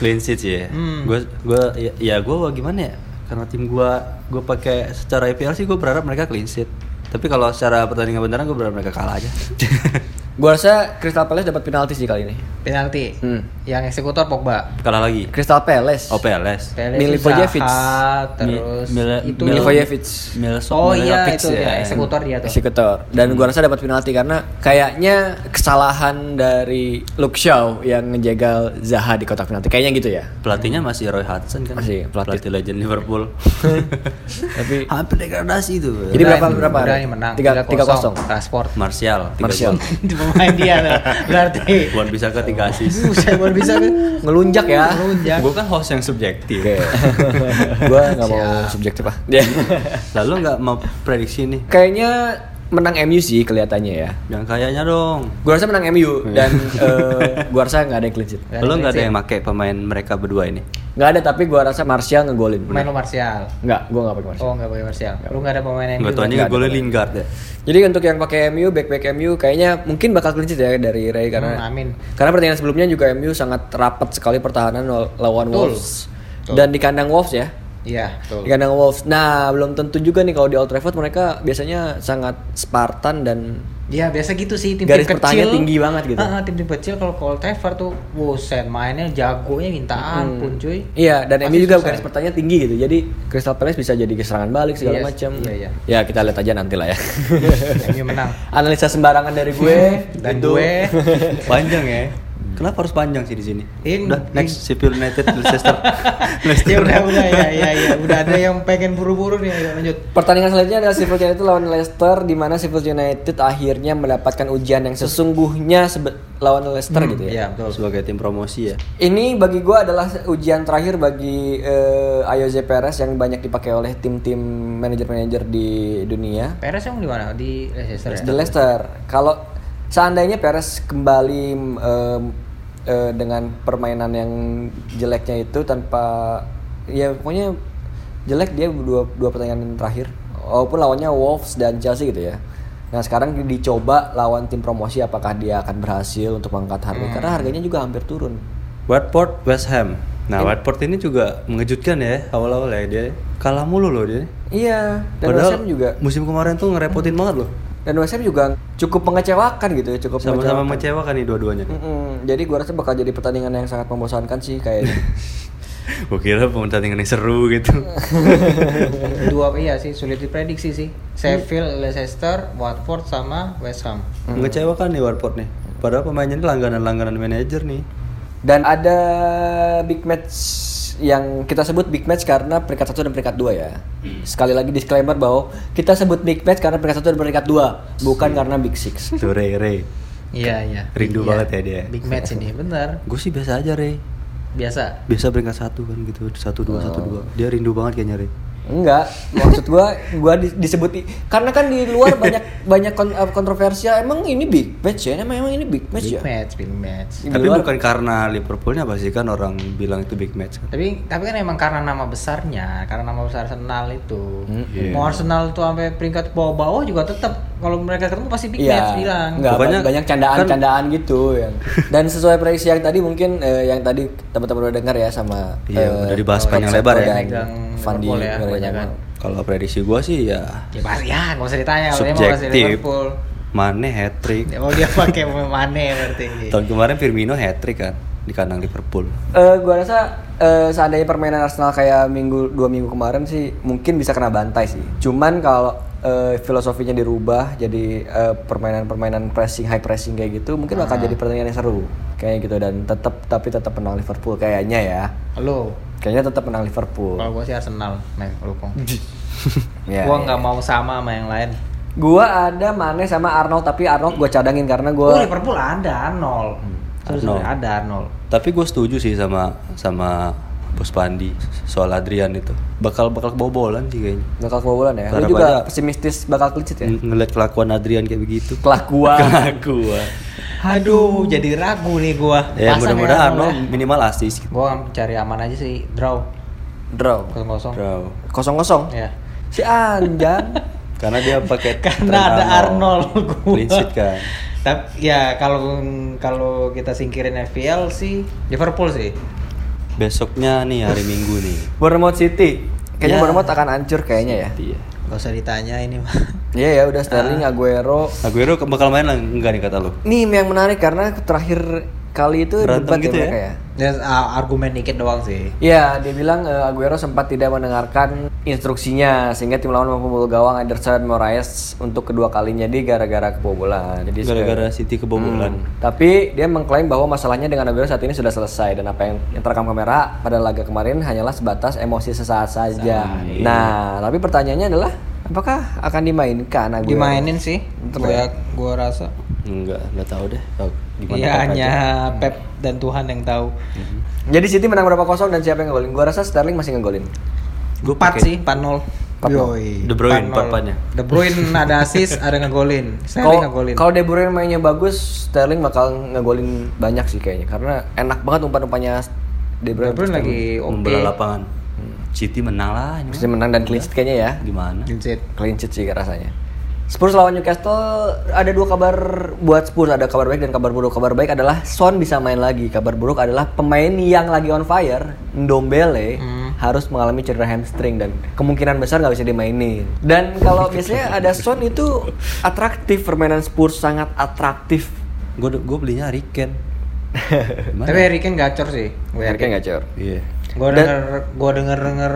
[SPEAKER 2] Clean sheet sih ya.
[SPEAKER 3] Hmm.
[SPEAKER 2] Gua gua ya, ya gua gimana ya? Karena tim gua gua pakai secara IPL sih gua berharap mereka clean sheet. Tapi kalau secara pertandingan beneran gua berharap mereka kalah aja.
[SPEAKER 1] Gua rasa Crystal Palace dapat penalti sih kali ini.
[SPEAKER 3] Penalti.
[SPEAKER 1] Hmm.
[SPEAKER 3] Yang eksekutor Pogba.
[SPEAKER 2] kalah lagi.
[SPEAKER 1] Crystal Palace.
[SPEAKER 2] Oh Palace.
[SPEAKER 3] Tele
[SPEAKER 1] Milivojevic.
[SPEAKER 3] Zaha, terus
[SPEAKER 2] Mil-
[SPEAKER 3] itu
[SPEAKER 2] Mil-
[SPEAKER 1] Milivojevic.
[SPEAKER 2] Milso-
[SPEAKER 3] Oh iya
[SPEAKER 2] Milivojevic
[SPEAKER 3] itu dia eksekutor dia tuh.
[SPEAKER 1] ya, Eksekutor. Dan gua rasa dapat penalti karena kayaknya kesalahan dari Luke Shaw yang ngejegal Zaha di kotak penalti. Kayaknya gitu ya.
[SPEAKER 2] Pelatihnya masih Roy Hudson kan?
[SPEAKER 1] Masih, pelatih.
[SPEAKER 2] pelatih, legend Liverpool.
[SPEAKER 1] Tapi
[SPEAKER 2] Hampir degradasi itu.
[SPEAKER 1] Jadi
[SPEAKER 3] Udah,
[SPEAKER 1] berapa
[SPEAKER 3] ini-
[SPEAKER 1] berapa?
[SPEAKER 3] Udah ini menang.
[SPEAKER 1] Tiga- tiga kosong.
[SPEAKER 3] Rashford.
[SPEAKER 2] Martial. tiga
[SPEAKER 1] Martial.
[SPEAKER 2] gol.
[SPEAKER 3] Itu pemain dia tuh. Berarti.
[SPEAKER 2] Wan bisa ke tiga asis.
[SPEAKER 3] Eh. Buset, baru bisa kan?
[SPEAKER 1] ngelunjak ya.
[SPEAKER 3] Melunjak.
[SPEAKER 2] Gue kan host yang subjektif.
[SPEAKER 1] Oke. gua nggak mau subjektif ah.
[SPEAKER 2] Lalu nggak mau prediksi nih.
[SPEAKER 1] Kayaknya menang MU sih kelihatannya ya.
[SPEAKER 2] Yang kayaknya dong.
[SPEAKER 1] Gua rasa menang MU dan eh, gua rasa nggak ada yang clean sheet.
[SPEAKER 3] Nggak ada
[SPEAKER 2] Lo nggak ada
[SPEAKER 3] clean
[SPEAKER 2] yang make pemain mereka berdua ini.
[SPEAKER 1] Nggak ada tapi gua rasa Martial ngegolin.
[SPEAKER 3] Main lo Martial.
[SPEAKER 1] Nggak, gua nggak pakai Martial.
[SPEAKER 3] Oh nggak pakai Martial. Lu nggak ada pemain yang
[SPEAKER 2] Gak
[SPEAKER 3] gitu.
[SPEAKER 2] tau aja
[SPEAKER 1] nggak
[SPEAKER 2] golnya
[SPEAKER 1] ada.
[SPEAKER 2] Lingard ya.
[SPEAKER 1] Jadi untuk yang pakai MU, back-back MU kayaknya mungkin bakal clean sheet ya dari Ray karena
[SPEAKER 3] Hmm, amin.
[SPEAKER 1] Karena pertandingan sebelumnya juga MU sangat rapat sekali pertahanan law- lawan
[SPEAKER 3] Betul.
[SPEAKER 1] Wolves. Dan di kandang Wolves ya.
[SPEAKER 3] Iya.
[SPEAKER 1] Di kandang Wolves. Nah, belum tentu juga nih kalau di Old Trafford mereka biasanya sangat Spartan dan
[SPEAKER 3] Ya biasa gitu sih tim-tim
[SPEAKER 1] Garis
[SPEAKER 3] kecil.
[SPEAKER 1] pertahanannya tinggi banget gitu.
[SPEAKER 3] Ah, ah, tim-tim kecil kalau Cole Trevor tuh, buset mainnya jagonya minta ampun cuy.
[SPEAKER 1] Iya, dan
[SPEAKER 3] Pasti
[SPEAKER 1] MU juga
[SPEAKER 3] susah.
[SPEAKER 1] garis pertanyaan tinggi gitu. Jadi Crystal Palace bisa jadi serangan balik segala
[SPEAKER 3] Yes.
[SPEAKER 1] macam.
[SPEAKER 3] Iya, iya.
[SPEAKER 1] Ya, kita lihat aja nanti lah ya.
[SPEAKER 3] MU menang.
[SPEAKER 1] Analisa sembarangan dari gue
[SPEAKER 3] Dan
[SPEAKER 1] itu-
[SPEAKER 3] gue
[SPEAKER 2] Panjang ya. Kenapa harus panjang sih di sini?
[SPEAKER 3] In-
[SPEAKER 2] Udah next Sheffield United Leicester.
[SPEAKER 3] ya
[SPEAKER 2] Iya,
[SPEAKER 3] udah udah ya ya ya udah ada yang pengen buru-buru nih ayo lanjut.
[SPEAKER 1] Pertandingan selanjutnya adalah Sheffield United lawan Leicester di mana Sheffield United akhirnya mendapatkan ujian yang sesungguhnya sebe- lawan Leicester gitu ya.
[SPEAKER 3] Iya betul.
[SPEAKER 2] Sebagai tim promosi ya.
[SPEAKER 1] Ini bagi gue adalah ujian terakhir bagi eh, Ayoze Perez yang banyak dipakai oleh tim-tim manajer-manajer di dunia.
[SPEAKER 3] Perez yang di mana? Di Leicester.
[SPEAKER 1] The
[SPEAKER 3] Ya?
[SPEAKER 1] Leicester. Kalau seandainya Perez kembali em, eh, dengan permainan yang jeleknya itu tanpa ya pokoknya jelek dia dua dua pertandingan terakhir. Walaupun lawannya Wolves dan Chelsea gitu ya. Nah sekarang dicoba lawan tim promosi apakah dia akan berhasil untuk mengangkat harga
[SPEAKER 2] Hmm.
[SPEAKER 1] karena harganya juga hampir turun.
[SPEAKER 2] Watford West Ham. Nah, Watford ini juga mengejutkan ya awal-awal ya dia kalah mulu loh dia.
[SPEAKER 1] Iya. Dan West
[SPEAKER 2] Padahal
[SPEAKER 1] Ham juga
[SPEAKER 2] musim kemarin tuh ngerepotin banget loh.
[SPEAKER 1] dan West Ham juga cukup mengecewakan gitu ya cukup
[SPEAKER 2] Sama-sama
[SPEAKER 3] kan.
[SPEAKER 1] mengecewakan.
[SPEAKER 2] mengecewakan nih dua-duanya. nih.
[SPEAKER 1] Mm-mm. Jadi gua rasa bakal jadi pertandingan yang sangat membosankan sih kayaknya.
[SPEAKER 2] Gue kira pertandingan yang seru gitu.
[SPEAKER 3] Dua iya sih sulit diprediksi sih. Sheffield, Leicester, Watford sama West Ham.
[SPEAKER 2] Mengecewakan nih Watford nih. Padahal pemainnya ini langganan-langganan manajer nih.
[SPEAKER 1] Dan ada big match yang kita sebut big match karena peringkat satu dan peringkat dua ya. Sekali lagi disclaimer bahwa kita sebut big match karena peringkat satu dan peringkat dua, bukan karena big six.
[SPEAKER 2] Tuh Rey, Rey.
[SPEAKER 3] Iya iya.
[SPEAKER 2] Rindu
[SPEAKER 3] Iya.
[SPEAKER 2] banget ya dia.
[SPEAKER 3] Big match ini bener.
[SPEAKER 2] Gue sih biasa aja Rey.
[SPEAKER 3] Biasa.
[SPEAKER 2] Biasa peringkat satu kan gitu. Satu dua, satu dua. Dia rindu banget kayaknya Rey.
[SPEAKER 1] Enggak, maksud gua gua di- disebut i- karena kan di luar banyak banyak kon- eh, kontroversial. Emang ini big match ya? Emang emang ini big match
[SPEAKER 3] Big
[SPEAKER 1] ya?
[SPEAKER 3] match, big match.
[SPEAKER 1] Di
[SPEAKER 2] Tapi
[SPEAKER 1] luar-
[SPEAKER 2] bukan karena Liverpoolnya pasti kan orang bilang itu big match kan.
[SPEAKER 3] Tapi tapi kan emang karena nama besarnya, karena nama besar Arsenal itu.
[SPEAKER 1] Hmm.
[SPEAKER 2] Iya.
[SPEAKER 3] Mau Arsenal tuh sampai peringkat bawah-bawah juga tetap kalau mereka ketemu pasti big
[SPEAKER 1] Iya,
[SPEAKER 3] match bilang.
[SPEAKER 1] enggak,
[SPEAKER 2] Pokoknya
[SPEAKER 1] banyak candaan-candaan
[SPEAKER 2] kan
[SPEAKER 1] gitu yang. Dan sesuai prediksi yang tadi mungkin eh, yang tadi teman-teman udah dengar ya sama
[SPEAKER 2] Iya,
[SPEAKER 1] eh,
[SPEAKER 2] udah dibahas
[SPEAKER 1] Top
[SPEAKER 2] panjang
[SPEAKER 1] Seto
[SPEAKER 2] lebar ya.
[SPEAKER 1] dan
[SPEAKER 3] Megang
[SPEAKER 1] Fandi
[SPEAKER 3] Liverpool ya,
[SPEAKER 1] Nuria
[SPEAKER 3] kebanyakan.
[SPEAKER 1] Jamal.
[SPEAKER 2] Kalau prediksi gua sih ya
[SPEAKER 3] Ya pasti ya, nggak usah ditanya. kalau emang masih
[SPEAKER 2] Subjektif.
[SPEAKER 3] Liverpool.
[SPEAKER 2] Mane hat trick.
[SPEAKER 3] Oh dia pakai Mane berarti.
[SPEAKER 2] Tahun kemarin Firmino hat trick kan di kandang Liverpool.
[SPEAKER 1] Eh, gua rasa eh, seandainya permainan Arsenal kayak minggu dua minggu kemarin sih mungkin bisa kena bantai sih. Cuman kalau eh, filosofinya dirubah jadi eh, permainan-permainan pressing high pressing kayak gitu mungkin
[SPEAKER 3] Ah.
[SPEAKER 1] bakal jadi pertandingan yang seru kayaknya gitu dan tetap tapi tetap menang Liverpool kayaknya ya.
[SPEAKER 3] Lo,
[SPEAKER 1] Kayaknya tetap menang Liverpool.
[SPEAKER 3] kalau gua sih Arsenal, Nek, lu kong.
[SPEAKER 1] Ya,
[SPEAKER 3] gua
[SPEAKER 1] ya.
[SPEAKER 3] nggak mau sama sama yang lain.
[SPEAKER 1] Gua ada Mane sama Arnold tapi Arnold gua cadangin karena
[SPEAKER 3] Oh
[SPEAKER 1] gua
[SPEAKER 3] Liverpool ada nol. Sorry, sorry,
[SPEAKER 2] Arnold.
[SPEAKER 3] ada nol.
[SPEAKER 2] Tapi gue setuju sih sama sama Bos Pandi soal Adrian itu. Bakal bakal kebobolan sih kayaknya.
[SPEAKER 1] bakal kebobolan ya. Lu
[SPEAKER 2] Harapannya-
[SPEAKER 1] juga pesimistis bakal kelicit ya.
[SPEAKER 2] Ng- Iya,
[SPEAKER 3] Hmm.
[SPEAKER 2] Ngeliat kelakuan Adrian kayak begitu.
[SPEAKER 1] Kelakuan.
[SPEAKER 2] Kelakuan.
[SPEAKER 3] Aduh, jadi ragu nih gua.
[SPEAKER 2] ya
[SPEAKER 3] Pasang
[SPEAKER 2] mudah-mudahan
[SPEAKER 3] Arnold
[SPEAKER 2] Arnold
[SPEAKER 3] ya.
[SPEAKER 2] minimal asis. gitu,
[SPEAKER 3] Gua cari aman aja sih, draw
[SPEAKER 1] Draw.
[SPEAKER 3] 0-0.
[SPEAKER 2] Bro.
[SPEAKER 1] Kosong-kosong.
[SPEAKER 2] Iya.
[SPEAKER 3] Ya.
[SPEAKER 1] Si Anjang.
[SPEAKER 2] Karena dia pakai tren
[SPEAKER 3] Karena ada Arnold gua.
[SPEAKER 2] Clean sheet kan.
[SPEAKER 3] Tapi ya kalau kalau kita singkirin FPL sih Liverpool sih.
[SPEAKER 2] Besoknya nih hari Minggu nih.
[SPEAKER 1] Bournemouth City. Kayaknya
[SPEAKER 2] Ya.
[SPEAKER 1] Bournemouth akan hancur kayaknya ya.
[SPEAKER 2] Iya.
[SPEAKER 3] Gak usah ditanya ini mah.
[SPEAKER 1] Iya ya udah Sterling, Aguero.
[SPEAKER 2] Aguero ke- bakal main lah enggak nih kata lu?
[SPEAKER 1] Nih yang menarik karena terakhir kali itu
[SPEAKER 2] Berantem
[SPEAKER 1] debat
[SPEAKER 2] gitu
[SPEAKER 1] ya
[SPEAKER 2] ya?
[SPEAKER 1] mereka ya.
[SPEAKER 3] Ya, a- argumen dikit doang sih.
[SPEAKER 1] Ya, dia bilang eh, Aguero sempat tidak mendengarkan instruksinya sehingga tim lawan memukul gawang Anderson Moraes untuk kedua kalinya di gara-gara kebobolan. Jadi
[SPEAKER 3] ya?
[SPEAKER 2] Gara-gara City kebobolan.
[SPEAKER 3] Hmm.
[SPEAKER 1] Tapi dia mengklaim bahwa masalahnya dengan Aguero saat ini sudah selesai dan apa yang, yang terekam kamera pada laga kemarin hanyalah sebatas emosi sesaat saja.
[SPEAKER 3] iya.
[SPEAKER 1] Nah, tapi pertanyaannya adalah apakah akan dimainkan Aguero?
[SPEAKER 3] Dimainin sih.
[SPEAKER 1] Bentar ya.
[SPEAKER 3] Gua gua rasa.
[SPEAKER 2] Enggak, enggak tahu deh. Tahu gimana
[SPEAKER 3] Ya
[SPEAKER 2] Pep aja.
[SPEAKER 3] hanya Pep dan Tuhan yang tahu.
[SPEAKER 1] Jadi City menang berapa kosong dan siapa yang ngegolin? Gua rasa Sterling masih ngegolin.
[SPEAKER 2] Gua
[SPEAKER 3] empat
[SPEAKER 2] pakai-
[SPEAKER 3] sih, 4-0.
[SPEAKER 1] Empat nol.
[SPEAKER 3] Yoi,
[SPEAKER 2] De Bruyne,
[SPEAKER 3] 4-0.
[SPEAKER 2] empat-empatnya.
[SPEAKER 3] De Bruyne ada assist, ada ngegolin. Sterling
[SPEAKER 1] Kalau
[SPEAKER 3] ngegolin.
[SPEAKER 1] kalau De Bruyne mainnya bagus, Sterling bakal ngegolin banyak sih kayaknya karena enak banget umpan-umpannya De
[SPEAKER 3] De
[SPEAKER 1] Bruyne.
[SPEAKER 3] Bruyne lagi oke. Hmm.
[SPEAKER 2] membelah Hmm, lapangan. City menang lah. ini
[SPEAKER 1] Bisa menang dan clean sheet kayaknya ya.
[SPEAKER 2] Gimana?
[SPEAKER 3] Vincent.
[SPEAKER 1] Clean sheet sih rasanya. Spurs lawan Newcastle ada dua kabar buat Spurs ada kabar baik dan kabar buruk. Kabar baik adalah Son bisa main lagi. Kabar buruk adalah pemain yang lagi on fire, Ndombele
[SPEAKER 2] Hmm.
[SPEAKER 1] harus mengalami cedera hamstring dan kemungkinan besar nggak bisa dimainin. Dan kalau biasanya ada Son itu atraktif permainan Spurs sangat atraktif.
[SPEAKER 2] Gue gue belinya Harry Kane. Gimana?
[SPEAKER 3] Tapi Harry Kane gacor sih. Gue
[SPEAKER 1] Harry Kane nggak cor.
[SPEAKER 2] Iya.
[SPEAKER 3] Gua denger gua denger denger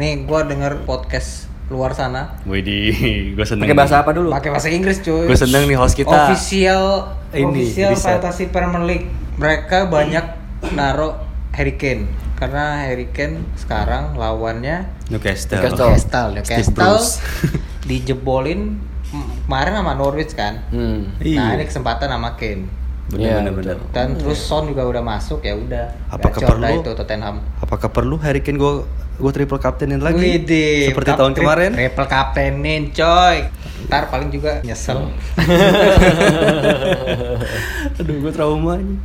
[SPEAKER 3] nih gua denger podcast luar sana.
[SPEAKER 2] Widih, gue seneng.
[SPEAKER 1] Pakai bahasa apa dulu?
[SPEAKER 3] Pakai bahasa Inggris cuy.
[SPEAKER 2] Gue seneng nih host kita.
[SPEAKER 3] Official
[SPEAKER 2] Ini,
[SPEAKER 3] official
[SPEAKER 2] riset.
[SPEAKER 3] Fantasy Premier League. Mereka banyak naruh Harry Kane karena Harry Kane sekarang lawannya
[SPEAKER 2] Newcastle.
[SPEAKER 1] Newcastle.
[SPEAKER 3] Newcastle,
[SPEAKER 2] Steve
[SPEAKER 3] Newcastle
[SPEAKER 2] Bruce.
[SPEAKER 3] dijebolin mm, kemarin sama Norwich kan.
[SPEAKER 1] Hmm.
[SPEAKER 2] Iya.
[SPEAKER 3] Nah ini kesempatan sama Kane.
[SPEAKER 2] Bener
[SPEAKER 1] Iya,
[SPEAKER 2] bener bener.
[SPEAKER 3] Dan terus Son juga udah masuk ya udah.
[SPEAKER 2] Apakah
[SPEAKER 3] Gacor dah
[SPEAKER 2] perlu?
[SPEAKER 3] itu Tottenham?
[SPEAKER 2] Apakah perlu Harry Kane gue gue triple captainin lagi?
[SPEAKER 3] Widih,
[SPEAKER 2] Seperti
[SPEAKER 3] kap-
[SPEAKER 2] tahun
[SPEAKER 3] tri-
[SPEAKER 2] kemarin.
[SPEAKER 3] Triple kaptenin coy. Ntar paling juga nyesel.
[SPEAKER 2] Hmm. Aduh, gue trauma nih.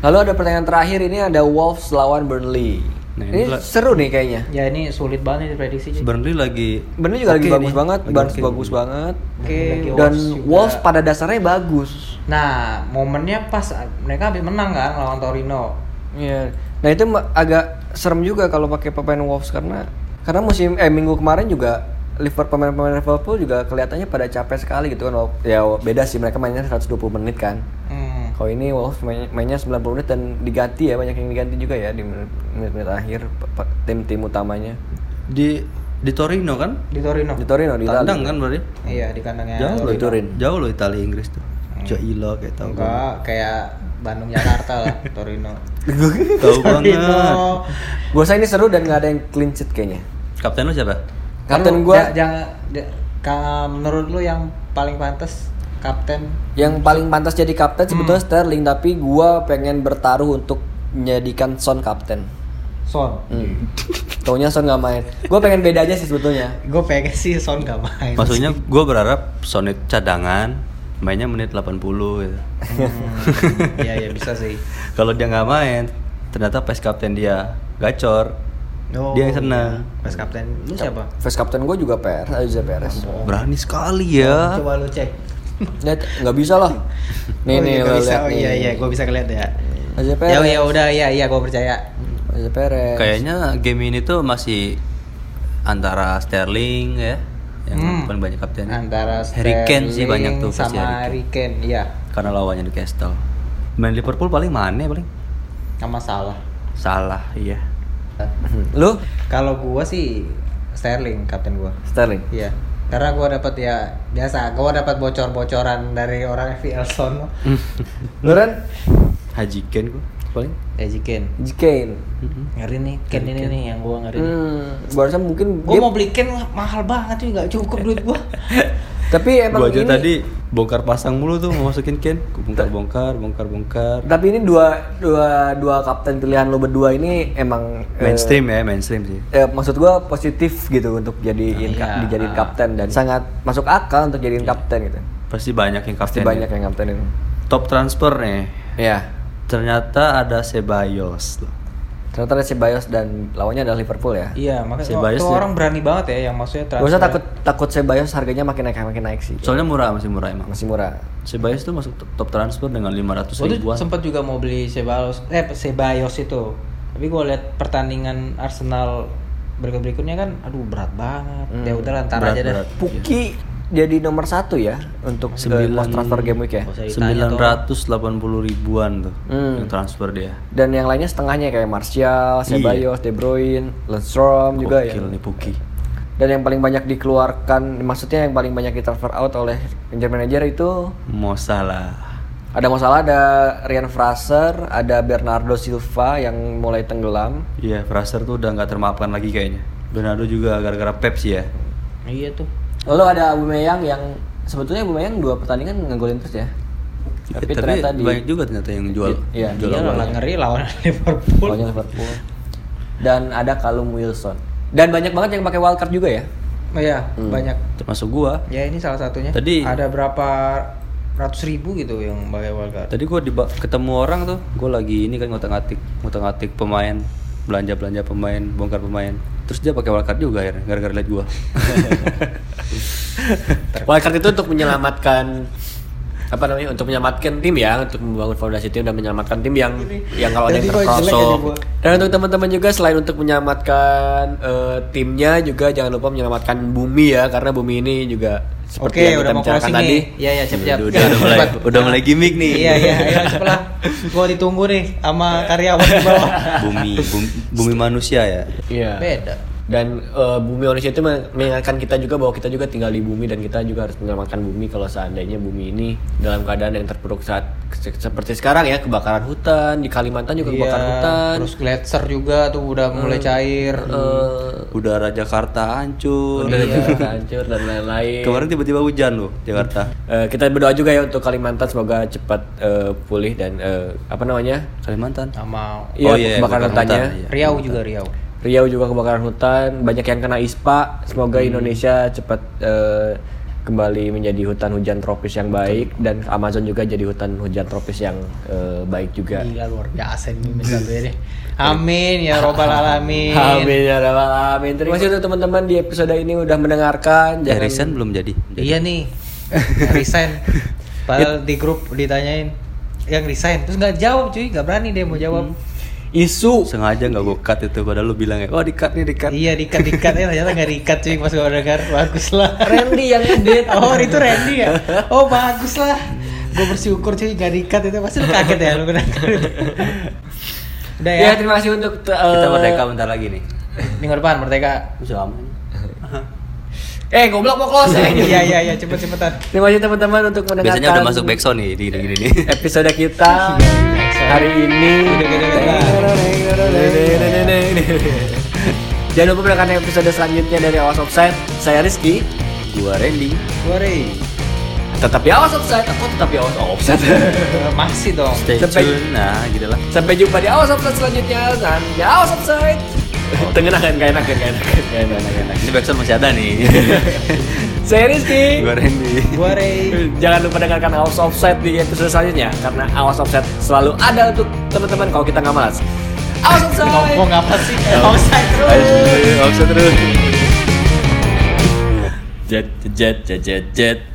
[SPEAKER 1] Lalu ada pertanyaan terakhir ini ada Wolves lawan Burnley.
[SPEAKER 2] Nah, ini
[SPEAKER 1] ini
[SPEAKER 2] lah.
[SPEAKER 1] seru nih kayaknya.
[SPEAKER 3] ya ini sulit banget diprediksi. cuy.
[SPEAKER 2] Burnley lagi.
[SPEAKER 1] Burnley juga
[SPEAKER 2] oke
[SPEAKER 1] lagi bagus
[SPEAKER 2] nih.
[SPEAKER 1] banget,
[SPEAKER 2] Lagi
[SPEAKER 1] Barnes
[SPEAKER 2] oke.
[SPEAKER 1] bagus banget.
[SPEAKER 3] Oke,
[SPEAKER 1] Dan
[SPEAKER 3] juga.
[SPEAKER 1] Wolves pada dasarnya bagus.
[SPEAKER 3] Nah, momennya pas mereka habis menang kan lawan Torino.
[SPEAKER 1] Iya. Nah itu ma- agak serem juga kalau pakai pemain Wolves karena karena musim eh minggu kemarin juga Liverpool pemain-pemain Liverpool juga kelihatannya pada capek sekali gitu kan. Wal- Ya beda sih mereka mainnya 120 menit kan.
[SPEAKER 3] Hmm.
[SPEAKER 1] Kalau ini Wolves mainnya, mainnya 90 menit dan diganti ya banyak yang diganti juga ya di menit- menit-menit akhir pe- pe- tim-tim utamanya.
[SPEAKER 2] Di di Torino kan?
[SPEAKER 3] Di Torino.
[SPEAKER 1] Di Torino di Ya, Italia.
[SPEAKER 2] Tandang kan berarti?
[SPEAKER 3] Iya, di kandangnya.
[SPEAKER 2] Jauh
[SPEAKER 1] Torino.
[SPEAKER 2] loh Italia. Jauh loh Italia Inggris tuh.
[SPEAKER 1] Hmm.
[SPEAKER 2] Jaila kayak tahu.
[SPEAKER 3] Enggak, kayak Bandung Jakarta lah, Torino.
[SPEAKER 2] Tahu banget.
[SPEAKER 1] Gua rasa ini seru dan nggak ada yang clean sheet kayaknya.
[SPEAKER 2] Kapten lu siapa?
[SPEAKER 1] Kapten
[SPEAKER 3] Kan Lu,
[SPEAKER 1] gua
[SPEAKER 3] ja- jangan ja- ka- menurut lu yang paling pantas kapten
[SPEAKER 1] yang paling pantas jadi kapten
[SPEAKER 3] Hmm.
[SPEAKER 1] sebetulnya Sterling tapi gua pengen bertaruh untuk menjadikan Son kapten.
[SPEAKER 3] Son.
[SPEAKER 1] Hmm. Taunya Son nggak main. Gua pengen beda aja sih sebetulnya.
[SPEAKER 3] Gue pengen sih Son gak main.
[SPEAKER 2] Maksudnya gue berharap Sonit cadangan mainnya menit 80 gitu.
[SPEAKER 3] Hmm, Iya, iya bisa sih.
[SPEAKER 2] Kalau dia nggak main, ternyata pas kapten dia gacor.
[SPEAKER 3] Oh,
[SPEAKER 2] Dia yang senang.
[SPEAKER 3] iya. Pas kapten lu siapa?
[SPEAKER 1] Vice kapten gua juga Perez, eh, Jose Perez.
[SPEAKER 2] Berani sekali ya.
[SPEAKER 3] Coba lu cek.
[SPEAKER 1] Lihat nggak bisa lah. Nih
[SPEAKER 3] Oh,
[SPEAKER 1] nih
[SPEAKER 3] iya,
[SPEAKER 1] lo
[SPEAKER 3] gua bisa.
[SPEAKER 1] lihat
[SPEAKER 3] Oh,
[SPEAKER 1] nih.
[SPEAKER 3] Iya, iya, gue bisa kelihatan ya.
[SPEAKER 1] Jose
[SPEAKER 3] Ya,
[SPEAKER 1] Perez.
[SPEAKER 3] ya udah, iya, iya, gue percaya.
[SPEAKER 1] Jose Perez.
[SPEAKER 2] Kayaknya game ini tuh masih antara Sterling ya, yang
[SPEAKER 3] Hmm.
[SPEAKER 2] paling banyak kaptennya.
[SPEAKER 3] antara
[SPEAKER 2] Harry Kane sih
[SPEAKER 3] Sterling
[SPEAKER 2] banyak tuh pasti
[SPEAKER 3] sama
[SPEAKER 2] Harry Kane.
[SPEAKER 3] Harry Kane iya
[SPEAKER 2] Karena lawannya Newcastle. Main Liverpool paling mana ya, paling?
[SPEAKER 3] sama salah
[SPEAKER 2] Salah, iya.
[SPEAKER 1] Lu
[SPEAKER 3] kalau gua sih Sterling kapten gua
[SPEAKER 1] Sterling.
[SPEAKER 3] Iya. Karena gua dapat ya biasa, gua dapat bocor-bocoran dari orang FPL sono.
[SPEAKER 1] Lu Ren?
[SPEAKER 2] Haji Kane gua paling.
[SPEAKER 3] Haji Ken.
[SPEAKER 1] Kane.
[SPEAKER 3] Eh, Ngeri nih, Ken ini nih yang gua ngeri. nih.
[SPEAKER 1] Hmm, barusan mungkin
[SPEAKER 3] Gua
[SPEAKER 1] dia-
[SPEAKER 3] mau beli Ken mahal banget cuy, nggak cukup duit gua.
[SPEAKER 1] tapi emang
[SPEAKER 2] Gua aja
[SPEAKER 1] ini,
[SPEAKER 2] tadi bongkar pasang mulu tuh mau masukin Kane. Gua bongkar-bongkar, bongkar-bongkar.
[SPEAKER 1] tapi ini dua dua dua kapten pilihan lu berdua ini emang eh,
[SPEAKER 2] Mainstream ya, mainstream sih.
[SPEAKER 1] eh, maksud gua positif gitu untuk jadiin ka-
[SPEAKER 3] Iya.
[SPEAKER 1] dijadiin kapten dan sangat masuk akal untuk jadiin kapten gitu.
[SPEAKER 2] Pasti banyak yang
[SPEAKER 1] Pasti
[SPEAKER 2] kapten. ya.
[SPEAKER 1] banyak yang kaptenin.
[SPEAKER 2] Top transfer nih.
[SPEAKER 1] Ya.
[SPEAKER 2] Ternyata ada Sebayos loh.
[SPEAKER 1] Ternyata ada Ceballos dan lawannya adalah Liverpool ya.
[SPEAKER 3] iya, makanya
[SPEAKER 2] Ceballos
[SPEAKER 3] tuh
[SPEAKER 2] ya.
[SPEAKER 3] orang berani banget ya yang maksudnya
[SPEAKER 1] Gak usah takut takut Ceballos harganya makin naik makin naik sih.
[SPEAKER 2] Soalnya murah, masih murah emang.
[SPEAKER 1] Masih murah.
[SPEAKER 2] Sebayos tuh masuk top- top transfer dengan 500
[SPEAKER 3] Gua tuh
[SPEAKER 2] ribuan.
[SPEAKER 3] sempat juga mau beli Sebalos, eh Sebayos itu. Tapi gua lihat pertandingan Arsenal berikut-berikutnya kan aduh berat banget. Ya udah ntar
[SPEAKER 2] Hmm, Berat,
[SPEAKER 3] aja dah.
[SPEAKER 2] berat.
[SPEAKER 1] Puki jadi nomor satu ya untuk Sembilan...
[SPEAKER 2] Sembilan-
[SPEAKER 1] transfer game week ya.
[SPEAKER 3] Nggak usah ditanya tuh.
[SPEAKER 2] 980 ribuan tuh
[SPEAKER 1] Hmm.
[SPEAKER 2] yang transfer dia.
[SPEAKER 1] Dan yang lainnya setengahnya kayak Martial, Ceballos, De Bruyne, Lundstrom juga ya.
[SPEAKER 2] Gokil nih Puki.
[SPEAKER 1] Dan yang paling banyak dikeluarkan, maksudnya yang paling banyak ditransfer out oleh manajer-manajer itu
[SPEAKER 2] Mo Salah.
[SPEAKER 1] ada masalah ada Ryan Fraser, ada Bernardo Silva yang mulai tenggelam.
[SPEAKER 2] Iya, Fraser tuh udah nggak termaafkan lagi kayaknya. Bernardo juga gara-gara Pep sih ya.
[SPEAKER 3] Iya tuh.
[SPEAKER 1] Lalu ada Aubameyang yang sebetulnya Aubameyang dua pertandingan ngegolin terus ya. Tapi,
[SPEAKER 2] Eh,
[SPEAKER 1] ternyata di
[SPEAKER 2] banyak juga ternyata yang jual.
[SPEAKER 1] Iya,
[SPEAKER 2] jual
[SPEAKER 3] Iya lah
[SPEAKER 2] awalnya.
[SPEAKER 3] ngeri lawan Liverpool.
[SPEAKER 1] golnya Liverpool. Dan ada Callum Wilson. Dan banyak banget yang pakai wildcard juga ya.
[SPEAKER 3] Iya, banyak.
[SPEAKER 2] Termasuk gua.
[SPEAKER 3] Ya ini salah satunya.
[SPEAKER 2] Hmm. Tadi-
[SPEAKER 3] ada berapa ratus ribu gitu yang pakai wildcard.
[SPEAKER 2] Tadi gua diba- ketemu orang tuh, gua lagi ini kan ngotak-ngatik, ngotak-ngatik pemain, belanja-belanja pemain, bongkar pemain. Terus dia pakai wildcard juga akhirnya gara-gara liat gua.
[SPEAKER 7] Wildcard itu untuk menyelamatkan apa namanya untuk menyelamatkan tim ya untuk membangun fondasi tim dan menyelamatkan tim yang yang kalau ada yang
[SPEAKER 3] Jadi gua jelek
[SPEAKER 7] terperosok
[SPEAKER 3] aja gua.
[SPEAKER 7] dan untuk teman-teman juga selain untuk menyelamatkan eh, timnya juga jangan lupa menyelamatkan bumi ya karena bumi ini juga seperti
[SPEAKER 3] Oke,
[SPEAKER 7] yang
[SPEAKER 3] udah
[SPEAKER 7] kita
[SPEAKER 3] mau
[SPEAKER 7] bicarakan
[SPEAKER 3] closing
[SPEAKER 7] tadi
[SPEAKER 3] nih. Iya, iya, siap-siap.
[SPEAKER 2] Udah, udah, udah mulai,
[SPEAKER 3] Cepat.
[SPEAKER 2] udah mulai gimmick nih.
[SPEAKER 3] Iya, iya, ayo cepet lah. Gua ditunggu nih sama karyawan di bawah.
[SPEAKER 2] Bumi, bumi, bumi manusia ya.
[SPEAKER 7] Iya.
[SPEAKER 3] Beda.
[SPEAKER 7] dan eh, bumi manusia itu men- mengingatkan kita juga bahwa kita juga tinggal di bumi dan kita juga harus menyelamatkan bumi kalau seandainya bumi ini dalam keadaan yang terpuruk saat se- seperti sekarang ya kebakaran hutan di Kalimantan
[SPEAKER 3] Iya,
[SPEAKER 7] juga kebakaran hutan
[SPEAKER 3] terus gletser juga tuh udah mulai cair. Hmm.
[SPEAKER 7] eh,
[SPEAKER 2] Udara Jakarta hancur.
[SPEAKER 7] udah juga iya, hancur dan lain-lain
[SPEAKER 2] Iya. Kemarin tiba-tiba hujan loh Jakarta.
[SPEAKER 7] Eh, kita berdoa juga ya untuk Kalimantan semoga cepat eh, pulih dan eh, apa namanya
[SPEAKER 2] Kalimantan.
[SPEAKER 3] Sama
[SPEAKER 7] Iya, kebakaran
[SPEAKER 2] bukan
[SPEAKER 7] hutannya.
[SPEAKER 2] hutan, iya.
[SPEAKER 3] Riau juga Riau.
[SPEAKER 7] Riau juga kebakaran hutan banyak yang kena ispa semoga
[SPEAKER 2] Hmm.
[SPEAKER 7] Indonesia cepat eh, kembali menjadi hutan hujan tropis yang baik dan Amazon juga jadi hutan hujan tropis yang eh, baik juga
[SPEAKER 3] Gila luar biasa ini mimin satu ini. Amin ya robbal alamin.
[SPEAKER 2] Iya.
[SPEAKER 7] Amin ya rabbal alamin. Terima kasih untuk teman-teman di episode ini udah mendengarkan. Jangan
[SPEAKER 2] Harrison belum jadi.
[SPEAKER 3] Iya nih, resign. Padahal di grup ditanyain yang resign, terus nggak jawab cuy, nggak berani dia mau jawab.
[SPEAKER 7] isu
[SPEAKER 2] Sengaja nggak gue cut itu padahal lu bilang ya, oh di cut nih di cut.
[SPEAKER 3] Iya dikat dikat ya ternyata nggak dikat cuy pas gue dengar bagus lah.
[SPEAKER 7] Randy yang edit.
[SPEAKER 3] Oh itu Randy ya? Oh bagus lah. Gue bersyukur cuy nggak dikat itu pasti lu kaget ya lu kena. Udah ya.
[SPEAKER 7] Ya, terima kasih untuk eh,
[SPEAKER 2] Kita merdeka bentar lagi nih.
[SPEAKER 3] Minggu depan merdeka.
[SPEAKER 2] Bisa lama.
[SPEAKER 7] Eh, goblok mau close. eh.
[SPEAKER 3] Iya iya iya cepet cepetan.
[SPEAKER 7] Terima kasih teman-teman untuk mendengarkan.
[SPEAKER 2] Biasanya udah masuk backsound nih di gini nih.
[SPEAKER 7] episode kita hari ini. Jangan lupa mendengarkan episode selanjutnya dari Awas Offside. Saya Rizky.
[SPEAKER 2] Gua Randy.
[SPEAKER 3] Sorry.
[SPEAKER 7] Tetap di Awas Offside. Aku tetap di Awas Offside.
[SPEAKER 3] Eh, Masih dong.
[SPEAKER 2] Stay
[SPEAKER 7] Sampai-
[SPEAKER 2] tune. Nah, gitu lah.
[SPEAKER 7] Sampai jumpa di Awas Offside selanjutnya. Dan di Awas Offside. Tengen akan gak enak, gak enak, gak enak, gak enak.
[SPEAKER 2] Ini backsound masih ada nih.
[SPEAKER 7] Saya Rizky.
[SPEAKER 2] Gua Randy.
[SPEAKER 3] Gue Ray.
[SPEAKER 7] Jangan lupa dengarkan Awas Offset di episode selanjutnya karena Awas Offset selalu ada untuk teman-teman kalau kita nggak malas. Awas Offset.
[SPEAKER 3] Ngomong apa sih? Offside terus.
[SPEAKER 2] Offset terus. Jet jet jet jet jet.